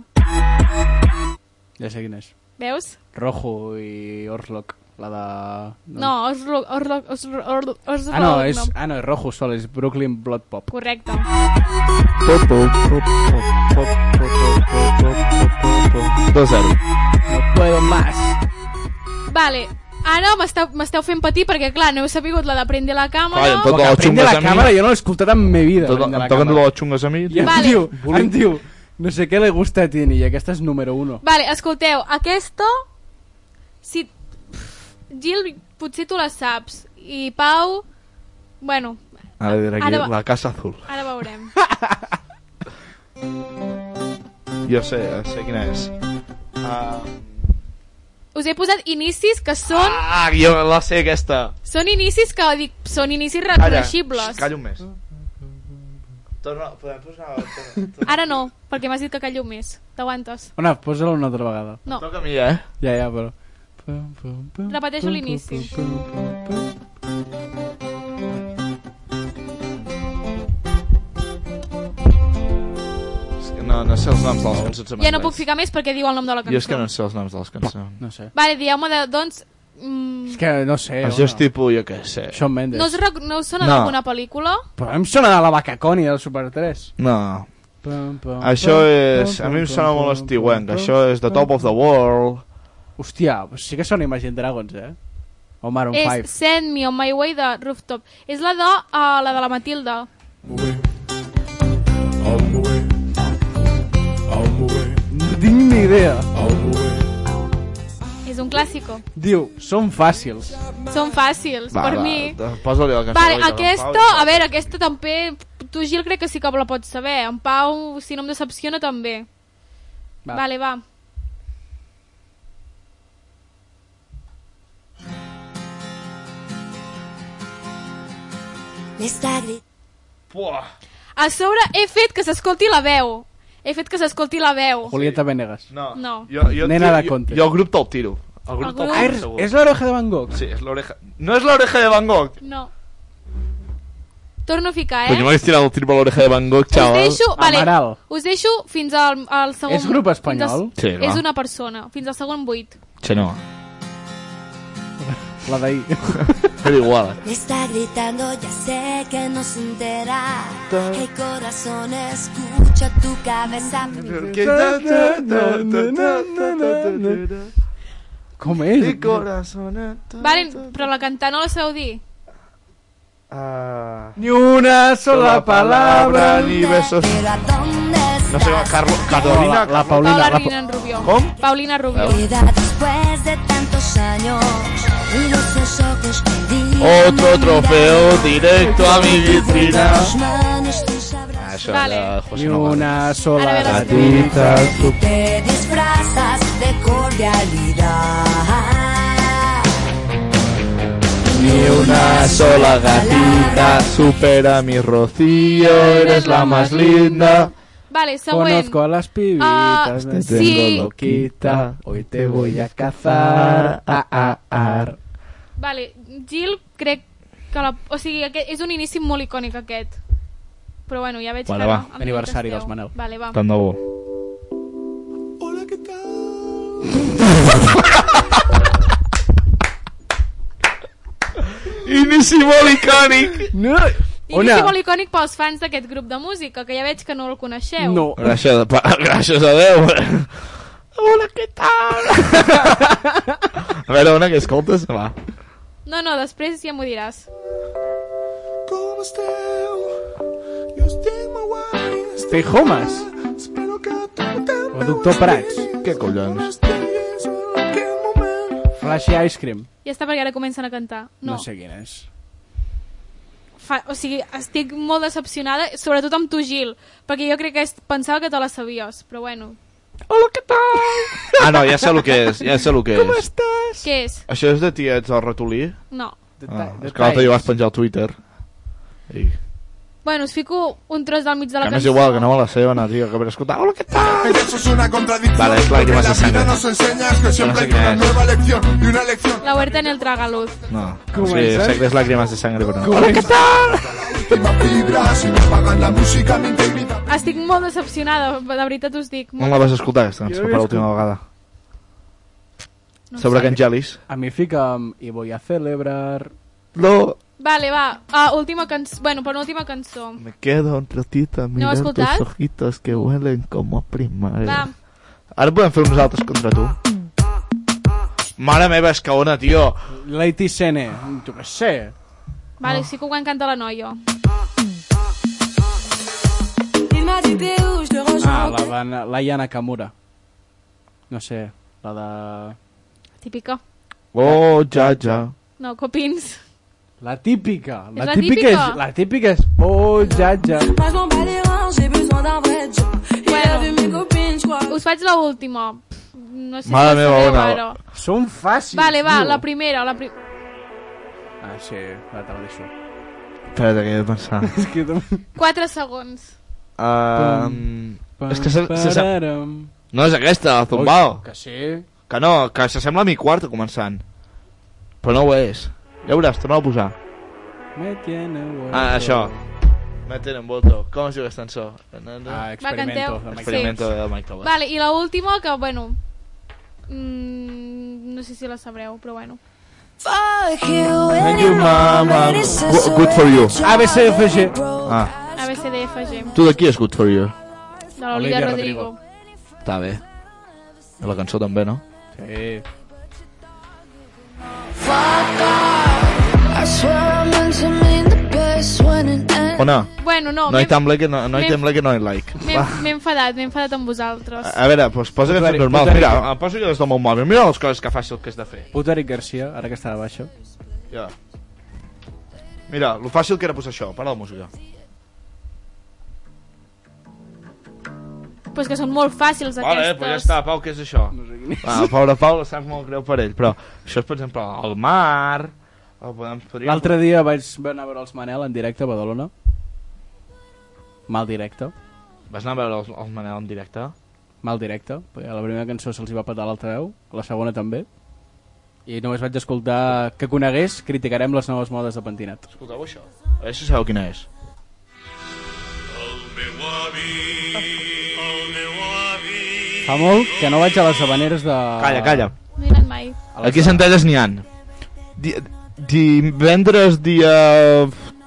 [SPEAKER 6] Ja sé quin és.
[SPEAKER 3] Veus?
[SPEAKER 6] Rojo i Orslock. La de...
[SPEAKER 3] No, Oslo... Oslo... Oslo... Oslo... Oslo...
[SPEAKER 6] Ah, no, és, ah, no, és Rojo sol, és Brooklyn Blood Pop.
[SPEAKER 3] Correcte.
[SPEAKER 7] Dos zero.
[SPEAKER 6] No puedo más.
[SPEAKER 3] Vale, ara m'esteu m'esteu fent patir perquè, clar, no heu sabut la d'aprendre la càmera.
[SPEAKER 7] Calla, em toca
[SPEAKER 6] Que
[SPEAKER 7] la
[SPEAKER 6] aprende
[SPEAKER 7] xunga
[SPEAKER 6] la
[SPEAKER 7] a mi.
[SPEAKER 6] càmera, jo no l'he escoltat en mi vida.
[SPEAKER 7] Tot,
[SPEAKER 6] Prende
[SPEAKER 7] em
[SPEAKER 6] la
[SPEAKER 7] toquen
[SPEAKER 6] càmera.
[SPEAKER 7] totes les xungues a mi.
[SPEAKER 6] I em
[SPEAKER 3] Vale.
[SPEAKER 6] diu, em diu, no sé què le gusta a Tini, i aquesta és número 1.
[SPEAKER 3] Vale, escolteu, aquesta... Si... Gil, potser tu la saps. I Pau... Bueno,
[SPEAKER 7] Ara diré aquí,
[SPEAKER 3] Ara va.
[SPEAKER 7] la Casa Azul.
[SPEAKER 3] ara veurem.
[SPEAKER 7] Jo sé, sé quina és. Ah,
[SPEAKER 3] Us he posat inicis que són...
[SPEAKER 7] ah jo la sé, aquesta.
[SPEAKER 3] Són inicis que dic, són inicis
[SPEAKER 7] Calla,
[SPEAKER 3] reconeixibles.
[SPEAKER 7] xxt, calla un mes. Torna, podem posar... torna-
[SPEAKER 3] Ara no, perquè m'has dit que callo més. T'aguantes.
[SPEAKER 6] Ona, posa-la una altra vegada.
[SPEAKER 3] No,
[SPEAKER 7] Toca a mi, eh?
[SPEAKER 6] Ja, ja, però... Pum, pum, pum,
[SPEAKER 3] Repeteixo
[SPEAKER 6] pum,
[SPEAKER 3] l'inici.
[SPEAKER 6] pum, pum, pum, pum.
[SPEAKER 7] És que no, no sé els noms de les cançons. en
[SPEAKER 3] ja no puc
[SPEAKER 7] anglès.
[SPEAKER 3] ficar més perquè diu el nom de la cançó.
[SPEAKER 7] Jo és que no sé els noms de les cançons.
[SPEAKER 6] No sé.
[SPEAKER 3] Vale, dieu-me de, doncs... Mm,
[SPEAKER 6] És que no sé,
[SPEAKER 7] Els jo Eh, tipus, jo què sé.
[SPEAKER 6] Shawn Mendes.
[SPEAKER 3] no, us rec... no us sona
[SPEAKER 7] No.
[SPEAKER 3] d'alguna pel·lícula?
[SPEAKER 6] Però em sona la vaca coni del Super 3.
[SPEAKER 7] No,
[SPEAKER 6] Pum, pum,
[SPEAKER 7] això
[SPEAKER 6] pum,
[SPEAKER 7] és...
[SPEAKER 6] pum,
[SPEAKER 7] A mi em
[SPEAKER 6] pum,
[SPEAKER 7] sona
[SPEAKER 6] pum,
[SPEAKER 7] molt
[SPEAKER 6] pum,
[SPEAKER 7] estiuenc.
[SPEAKER 6] pum,
[SPEAKER 7] Això és The Top of the World.
[SPEAKER 6] Hòstia, sí que són Imagine Dragons, eh? O Maroon
[SPEAKER 3] És
[SPEAKER 6] 5.
[SPEAKER 3] Send Me On My Way de Rooftop. És la de, uh, la de la Matilda.
[SPEAKER 6] No tinc ni idea.
[SPEAKER 3] És un clàssico.
[SPEAKER 6] Diu, són fàcils.
[SPEAKER 3] Són fàcils,
[SPEAKER 7] Va,
[SPEAKER 3] per
[SPEAKER 7] va,
[SPEAKER 3] mi.
[SPEAKER 7] de- Posa-li la cançó.
[SPEAKER 3] Vale,
[SPEAKER 7] de
[SPEAKER 3] aquesta,
[SPEAKER 7] Pau i-
[SPEAKER 3] a veure, aquesta també... Tu, Gil, crec que sí que la pots saber. En Pau, si no em decepciona, també.
[SPEAKER 6] Va.
[SPEAKER 3] Va. Vale, va.
[SPEAKER 5] Me está gritando.
[SPEAKER 7] Buah.
[SPEAKER 3] A sobre he fet que s'escolti la veu. He fet que s'escolti la veu.
[SPEAKER 6] Julieta Venegas.
[SPEAKER 7] No.
[SPEAKER 3] No.
[SPEAKER 7] Jo, jo,
[SPEAKER 6] Nena
[SPEAKER 7] jo-
[SPEAKER 6] de
[SPEAKER 7] jo-
[SPEAKER 6] Conte.
[SPEAKER 7] Jo, el grup te'l tiro. El grup
[SPEAKER 3] El
[SPEAKER 7] te'l
[SPEAKER 3] grup.
[SPEAKER 6] Ah,
[SPEAKER 7] tiro,
[SPEAKER 6] és,
[SPEAKER 7] segur.
[SPEAKER 6] és l'oreja de Van Gogh?
[SPEAKER 7] Sí, és l'oreja... No és l'oreja de Van Gogh.
[SPEAKER 3] No. Torno a ficar, eh?
[SPEAKER 7] Coño, m'hagués tirat el tiro per l'oreja de Van Gogh,
[SPEAKER 3] Us
[SPEAKER 7] xaval.
[SPEAKER 3] deixo, vale,
[SPEAKER 6] Amaral.
[SPEAKER 3] us deixo fins al, al segon...
[SPEAKER 6] És grup
[SPEAKER 3] fins
[SPEAKER 6] espanyol?
[SPEAKER 3] Al,
[SPEAKER 7] Sí, va.
[SPEAKER 3] és una persona. Fins al segon buit.
[SPEAKER 7] Che, no.
[SPEAKER 6] La d'ahir.
[SPEAKER 7] Era igual.
[SPEAKER 5] Me está gritando, ya sé que no se entera. Hey corazón, escucha tu cabeza.
[SPEAKER 6] Com és?
[SPEAKER 3] Vale, però la cantar no la sabeu dir?
[SPEAKER 7] Ah.
[SPEAKER 6] Ni una sola palabra ni...
[SPEAKER 7] ni besos.
[SPEAKER 5] Pero ¿a dónde
[SPEAKER 7] No sé,
[SPEAKER 5] estás?
[SPEAKER 7] Carlo, Carolina...
[SPEAKER 6] La Paulina.
[SPEAKER 3] Paula
[SPEAKER 6] La,
[SPEAKER 3] Rina en Rubió.
[SPEAKER 7] Com?
[SPEAKER 3] Paulina Rubió.
[SPEAKER 5] Queda después de tantos años. Los ojos que di-
[SPEAKER 7] Otro trofeo directo a mi vitrina.
[SPEAKER 5] Las manos tus abrazos.
[SPEAKER 7] Ah, això
[SPEAKER 3] Vale.
[SPEAKER 7] era
[SPEAKER 6] Pa-
[SPEAKER 7] José
[SPEAKER 6] ni
[SPEAKER 7] Nova.
[SPEAKER 6] una sola
[SPEAKER 3] Ara ve la
[SPEAKER 6] gatita. tu-
[SPEAKER 5] Te disfrazas de cordialidad.
[SPEAKER 7] Ni una sola gatita supera mi Rocío, eres la más linda.
[SPEAKER 3] Vale, següent.
[SPEAKER 6] Conozco a las pibitas.
[SPEAKER 3] Ah,
[SPEAKER 6] me
[SPEAKER 3] sí.
[SPEAKER 6] tengo loquita. Hoy te voy a cazar. Ah, ah, ah.
[SPEAKER 3] Vale, Gil crec que la... O sigui, aquest, és un inici molt icònic aquest. Però bueno, ja veig
[SPEAKER 7] Vale,
[SPEAKER 3] que...
[SPEAKER 7] va.
[SPEAKER 3] no, em
[SPEAKER 6] Aniversari
[SPEAKER 3] contesteu.
[SPEAKER 6] dels Manel.
[SPEAKER 3] Vale, va.
[SPEAKER 7] Tant de bo. Inici molt icònic.
[SPEAKER 6] No.
[SPEAKER 3] Inici
[SPEAKER 6] Ona.
[SPEAKER 3] molt icònic pels fans d'aquest grup de música, que ja veig que no el coneixeu.
[SPEAKER 6] No.
[SPEAKER 7] Gràcies, pa, gràcies a Déu. Hola, què tal? a veure, Ona, que escoltes? Va.
[SPEAKER 3] No, no, després ja m'ho diràs.
[SPEAKER 1] Com esteu? Jo estic molt guai.
[SPEAKER 6] Tejomas.
[SPEAKER 1] Espero que tu també
[SPEAKER 6] O Doctor Prats.
[SPEAKER 1] estiguis.
[SPEAKER 7] Què collons?
[SPEAKER 6] Flashy Ice Cream.
[SPEAKER 3] Ja està perquè ara comencen a cantar. No,
[SPEAKER 6] No sé quin és.
[SPEAKER 3] Fa, o sigui, estic molt decepcionada, sobretot amb tu, Gil, perquè jo crec que és, pensava que te la sabies, però bueno.
[SPEAKER 6] Hola, què tal?
[SPEAKER 7] Ah, no, ja sé el que és, ja sé el que és.
[SPEAKER 3] Estàs? Què és?
[SPEAKER 7] Això és de tiets al ratolí?
[SPEAKER 3] No.
[SPEAKER 7] Ah, és que l'altre dia vas penjar al Twitter. I...
[SPEAKER 3] Bueno, us fico un tros del mig de la
[SPEAKER 7] Que m'és
[SPEAKER 3] cançó.
[SPEAKER 7] igual, que no me la sé, anar, tio, que per escoltar... Hola, què tal?
[SPEAKER 1] Eso es una contradicción.
[SPEAKER 7] Vale, es lágrimas de
[SPEAKER 1] porque la vida
[SPEAKER 7] sangre.
[SPEAKER 1] nos enseña que siempre
[SPEAKER 7] sé
[SPEAKER 1] hay una
[SPEAKER 7] qué es.
[SPEAKER 1] nueva lección y una lección.
[SPEAKER 3] La huerta en el tragaluz.
[SPEAKER 7] No, o sigui, sé que és Lágrimas de Sangre, però no.
[SPEAKER 1] Última fibra, si me apagan la música, mi integridad.
[SPEAKER 3] Estic molt decepcionada, de veritat us dic.
[SPEAKER 7] On
[SPEAKER 3] Molt...
[SPEAKER 7] la vas escoltar, aquesta cançó, per l'última vegada?
[SPEAKER 3] No
[SPEAKER 7] Sobre
[SPEAKER 3] sé.
[SPEAKER 7] que Angelis.
[SPEAKER 6] A mi fica'm i voy a celebrar...
[SPEAKER 7] No,
[SPEAKER 3] Vale, va. Uh, última cançó. Bueno, per última cançó.
[SPEAKER 7] me quedo un ratito a mirar
[SPEAKER 3] escoltat?
[SPEAKER 7] tus ojitos que huelen como a primavera.
[SPEAKER 3] Va.
[SPEAKER 7] Ara podem fer nosaltres contra tu. Mare meva, és que ona, tio.
[SPEAKER 6] Lady Sene. Jo què sé.
[SPEAKER 3] Vale, sí que ho encanta la noia.
[SPEAKER 16] Il m'a dit t'es où, je te
[SPEAKER 6] Ah,
[SPEAKER 16] rejoins.
[SPEAKER 3] Pues,
[SPEAKER 6] la van... Laia Nakamura. No sé, la de...
[SPEAKER 3] Típica.
[SPEAKER 7] Oh, ja, ja.
[SPEAKER 3] No, copins.
[SPEAKER 6] La típica. La,
[SPEAKER 3] És la
[SPEAKER 6] típica,
[SPEAKER 3] típica.
[SPEAKER 6] és... La típica és... Oh, ja, ja.
[SPEAKER 16] Moi, je m'en bats les reins, j'ai besoin d'un vrai job. Il a vu mes copines, je crois.
[SPEAKER 3] Us faig la última. Pff, No sé
[SPEAKER 7] Mare
[SPEAKER 3] si la
[SPEAKER 7] meva,
[SPEAKER 3] sabeu,
[SPEAKER 7] Ona.
[SPEAKER 3] però...
[SPEAKER 6] Són fàcils,
[SPEAKER 3] Vale, va,
[SPEAKER 6] tio.
[SPEAKER 3] la primera, la pri...
[SPEAKER 6] Ah, sí, va, te la deixo.
[SPEAKER 7] Espera't, que he de pensar.
[SPEAKER 6] És que... Pum,
[SPEAKER 3] 4 segons.
[SPEAKER 7] Um, és que se, se, se,
[SPEAKER 6] pararam.
[SPEAKER 7] no és aquesta, la Zumbao.
[SPEAKER 6] Que sí.
[SPEAKER 7] Que no, que s'assembla a mi quarta començant. Però no ho és. Ja veuràs, torna a posar.
[SPEAKER 6] Me tiene huevo.
[SPEAKER 7] Ah, això. Me tenen volto. Com es diu aquesta cançó?
[SPEAKER 6] Ah,
[SPEAKER 3] canteu.
[SPEAKER 6] experimento. de Michael
[SPEAKER 3] Sí.
[SPEAKER 7] Experimento de Mike Tobas.
[SPEAKER 3] Vale, i la última que, bueno... Mm, no sé si la sabreu, però bueno.
[SPEAKER 17] Fuck you,
[SPEAKER 7] Thank you, mama. Go- Good for you.
[SPEAKER 6] ABCFG.
[SPEAKER 7] Ah,
[SPEAKER 3] ABCDFG,
[SPEAKER 7] tu de qui és Good for you?
[SPEAKER 3] de l'Olivia
[SPEAKER 6] Olivia
[SPEAKER 3] Rodrigo.
[SPEAKER 7] Està bé. I la cançó també, no?
[SPEAKER 6] Sí.
[SPEAKER 18] I swear I meant to mean the best when it ends.
[SPEAKER 7] O no?
[SPEAKER 3] Bueno, no,
[SPEAKER 7] No
[SPEAKER 3] m'he
[SPEAKER 7] hi tan like, no, no hi
[SPEAKER 3] m'he-
[SPEAKER 7] tan like, no hi like.
[SPEAKER 3] m'he- m'he enfadat, m'he enfadat amb vosaltres.
[SPEAKER 7] A veure, doncs posa que és
[SPEAKER 6] Puta rica,
[SPEAKER 7] normal.
[SPEAKER 6] puta
[SPEAKER 7] Mira,
[SPEAKER 6] rica.
[SPEAKER 7] em poso jo des del meu mòbil. Mira les coses que fàcil que és de fer.
[SPEAKER 6] Puta Eric Garcia, ara que està de baixa.
[SPEAKER 7] Ja. Mira, lo fàcil que era posar això. Para la música.
[SPEAKER 3] Però és que són molt fàcils
[SPEAKER 7] Vale,
[SPEAKER 3] aquestes.
[SPEAKER 7] doncs ja està. Pau, què és això? Ah, pobre Pau, ho sap molt greu per ell, però això és, per exemple, el mar... El podem, podríem...
[SPEAKER 6] L'altre dia vaig anar a veure els Manel en directe a Badalona. Mal directe.
[SPEAKER 7] Vas anar a veure els, els Manel en directe?
[SPEAKER 6] Mal directe. Perquè a la primera cançó se'ls hi va petar l'altaveu, a la segona també. I només vaig escoltar que conegués, criticarem les noves modes de pentinat.
[SPEAKER 7] Escolteu això. A veure si sabeu quina és.
[SPEAKER 6] Fa molt que no vaig a les habaneres de...
[SPEAKER 7] Calla, calla.
[SPEAKER 3] No he anat mai.
[SPEAKER 6] a les-
[SPEAKER 7] Aquí a Centelles n'hi han. Di divendres, dia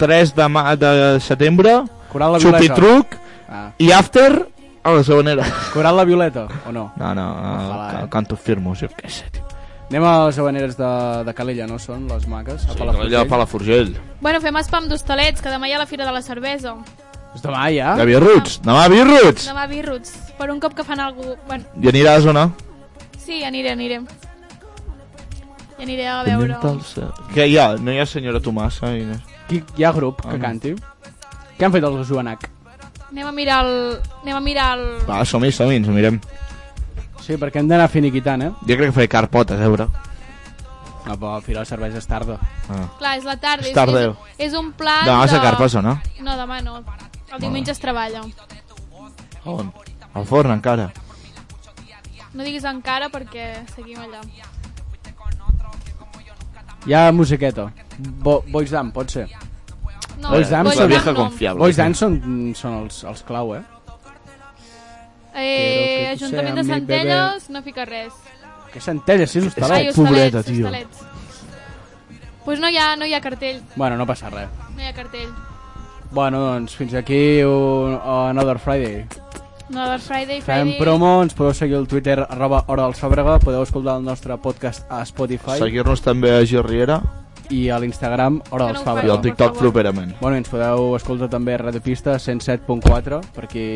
[SPEAKER 7] 3 de, ma de setembre,
[SPEAKER 6] Coral la Violeta.
[SPEAKER 7] Chupitruc
[SPEAKER 6] Ah.
[SPEAKER 7] i After a la segonera.
[SPEAKER 6] Coral la Violeta, o no?
[SPEAKER 7] No, no,
[SPEAKER 6] Ojalà,
[SPEAKER 7] Ojalà,
[SPEAKER 6] eh?
[SPEAKER 7] canto firmos, jo què sé, tio.
[SPEAKER 6] Anem a les habaneres de, de Calella, no són? Les maques? a Palafrugell.
[SPEAKER 7] Palafrugell.
[SPEAKER 3] Bueno, fem spam d'hostalets, que demà hi ha la Fira de la Cervesa.
[SPEAKER 6] És demà, ja?
[SPEAKER 7] De Birruts, demà a Birruts!
[SPEAKER 3] Demà birruts. Per un cop que fan algú... Bueno,
[SPEAKER 7] I aniràs o no?
[SPEAKER 3] sí, aniré, aniré. I aniré a veure...
[SPEAKER 7] Que hi ha? No hi ha senyora Tomassa? I...
[SPEAKER 6] Qui, hi ha Ah. grup que canti? Què han fet els Joanac?
[SPEAKER 3] Anem a mirar el... Anem a mirar el...
[SPEAKER 7] Va, som-hi, som-hi, ens ho mirem.
[SPEAKER 6] Sí, perquè hem d'anar finiquitant, eh?
[SPEAKER 7] Jo crec que faré eh, carpota, a veure.
[SPEAKER 6] No, però al final serveix és tarda.
[SPEAKER 7] Ah.
[SPEAKER 3] Clar, és la tarda.
[SPEAKER 7] És
[SPEAKER 3] És,
[SPEAKER 7] tarda.
[SPEAKER 3] És, és un pla
[SPEAKER 7] Demà vas
[SPEAKER 3] de...
[SPEAKER 7] a carpes o no?
[SPEAKER 3] No, demà no. El diumenge es treballa.
[SPEAKER 7] A On? Al forn, encara.
[SPEAKER 3] No diguis encara perquè seguim allà.
[SPEAKER 6] Hi ha musiqueta. Bo Boys Dan, pot ser.
[SPEAKER 3] No,
[SPEAKER 6] Boys Dance, la
[SPEAKER 7] vieja
[SPEAKER 3] no.
[SPEAKER 7] confiable.
[SPEAKER 6] Boys Dan són, són els, els clau, eh? Quiero
[SPEAKER 3] Eh,
[SPEAKER 6] que tu
[SPEAKER 3] Ajuntament de
[SPEAKER 6] seas mi
[SPEAKER 3] Centelles no fica res.
[SPEAKER 6] Que centelles, si és
[SPEAKER 3] Ai,
[SPEAKER 6] hostalet.
[SPEAKER 3] hostalets,
[SPEAKER 7] pobreta, tio.
[SPEAKER 3] hostalets. Pues no hi ha, no hi ha cartell,
[SPEAKER 6] Bueno, no passa res.
[SPEAKER 3] no hi ha cartell.
[SPEAKER 6] Bueno, doncs, fins aquí un, Another Friday.
[SPEAKER 3] No, doncs Friday,
[SPEAKER 6] Fem
[SPEAKER 3] Friday...
[SPEAKER 6] promo, ens podeu seguir al Twitter arroba Hora del Sòbrega, podeu escoltar el nostre podcast a Spotify.
[SPEAKER 7] Seguir-nos també a Gerriera.
[SPEAKER 6] i a l'Instagram Hora dels Faves.
[SPEAKER 7] I el TikTok properament.
[SPEAKER 6] Bueno, i ens podeu escoltar també a Radio Pista 107.4 per qui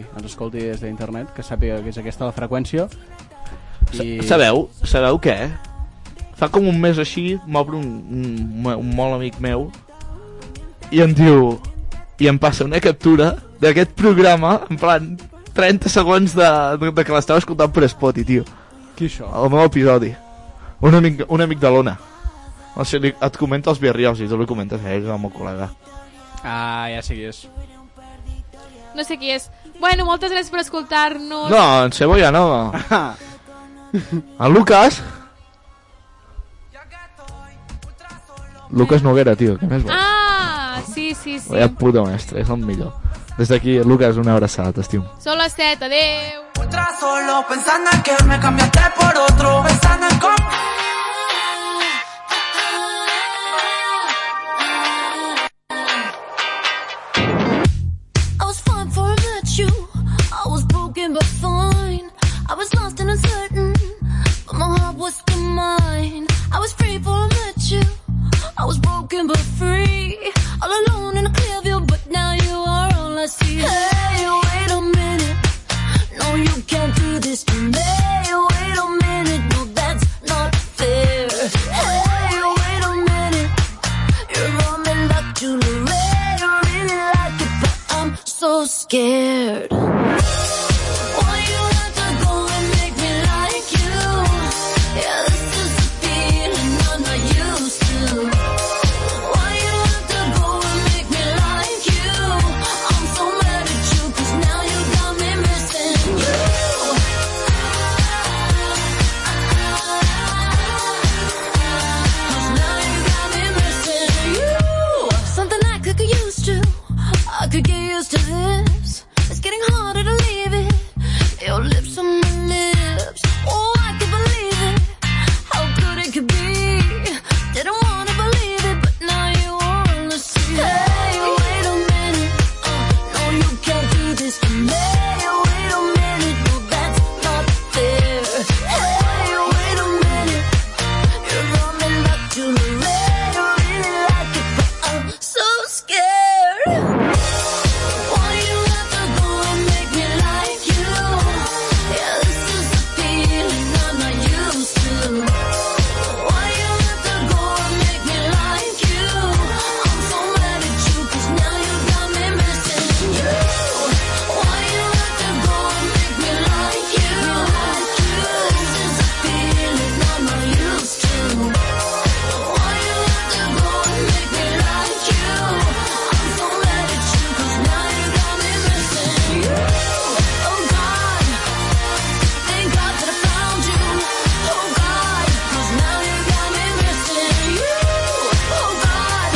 [SPEAKER 6] ens escolti des d'internet, que sàpiga que és aquesta la freqüència. I...
[SPEAKER 7] Sabeu? Sabeu què? Fa com un mes així m'obre un, un, un molt amic meu i em diu i em passa una captura d'aquest programa en plan 30 segons de, de, de que l'estava escoltant per Spotify, tio.
[SPEAKER 6] Qui això?
[SPEAKER 7] El meu episodi. Un amic, un amic de l'Ona. O sigui, li- et comenta els birriols i tu li comentes eh, a ell, al meu col·lega.
[SPEAKER 6] Ah, ja sé qui és.
[SPEAKER 3] No sé qui és. Bueno, moltes gràcies per escoltar-nos.
[SPEAKER 7] No, en Sebo ja no. En Lucas... Lucas Noguera, tio, què més vols?
[SPEAKER 3] Ah, sí, sí, sí.
[SPEAKER 7] Vaya puta mestre, és el millor. Des d'aquí, Lucas, una abraçada, t'estimo.
[SPEAKER 3] Són les 7, adeu.
[SPEAKER 19] Ultra solo pensando en que me cambiaste por otro, pensando en cómo.
[SPEAKER 5] I was fine before I met you. I was broken but fine. I was lost and uncertain, but my heart was still mine. I was free before I met you. I was broken but free. All alone in a clear view, but now you are all I see. Hey, wait a minute. No, you can't do this to me. Wait a minute. No, that's not fair. Hey, wait a minute. You're roaming back to Lorraine. I really like it, but I'm so scared. Why you have to go and make me like you? Yeah, this is a feeling I'm not used to. Why you have to go and make me like you? I'm so mad at you, 'cause now you got me missing you. Something I could get used to. I could get used to this. It's getting harder to leave it. Your lips on my lips. Oh, I could believe it. How good it could be. Didn't wanna believe it, but now you wanna see. Hey, wait a minute. Uh, no, you can't do this to me. Wait a minute. No, that's not fair. Hey, wait a minute. You're running back to the red. I really like it, but I'm so scared. Why you have to go and make me like you? Yeah, this is a feeling I'm not used to. Why you have to go and make me like you? I'm so mad at you, 'cause now you got me missing you. Why you have to go and make me like you? This is a feeling I'm not used to. Why you have to go and make me like you? I'm so mad at you, 'cause now you got me missing you. Oh God, thank God that I found you. Oh God, 'cause now you got me missing you. Oh God,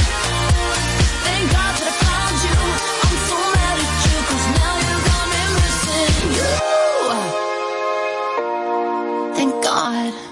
[SPEAKER 5] thank God that I found you. I'm so mad at you, 'cause now you got me missing you. Thank God. Oh, Oh,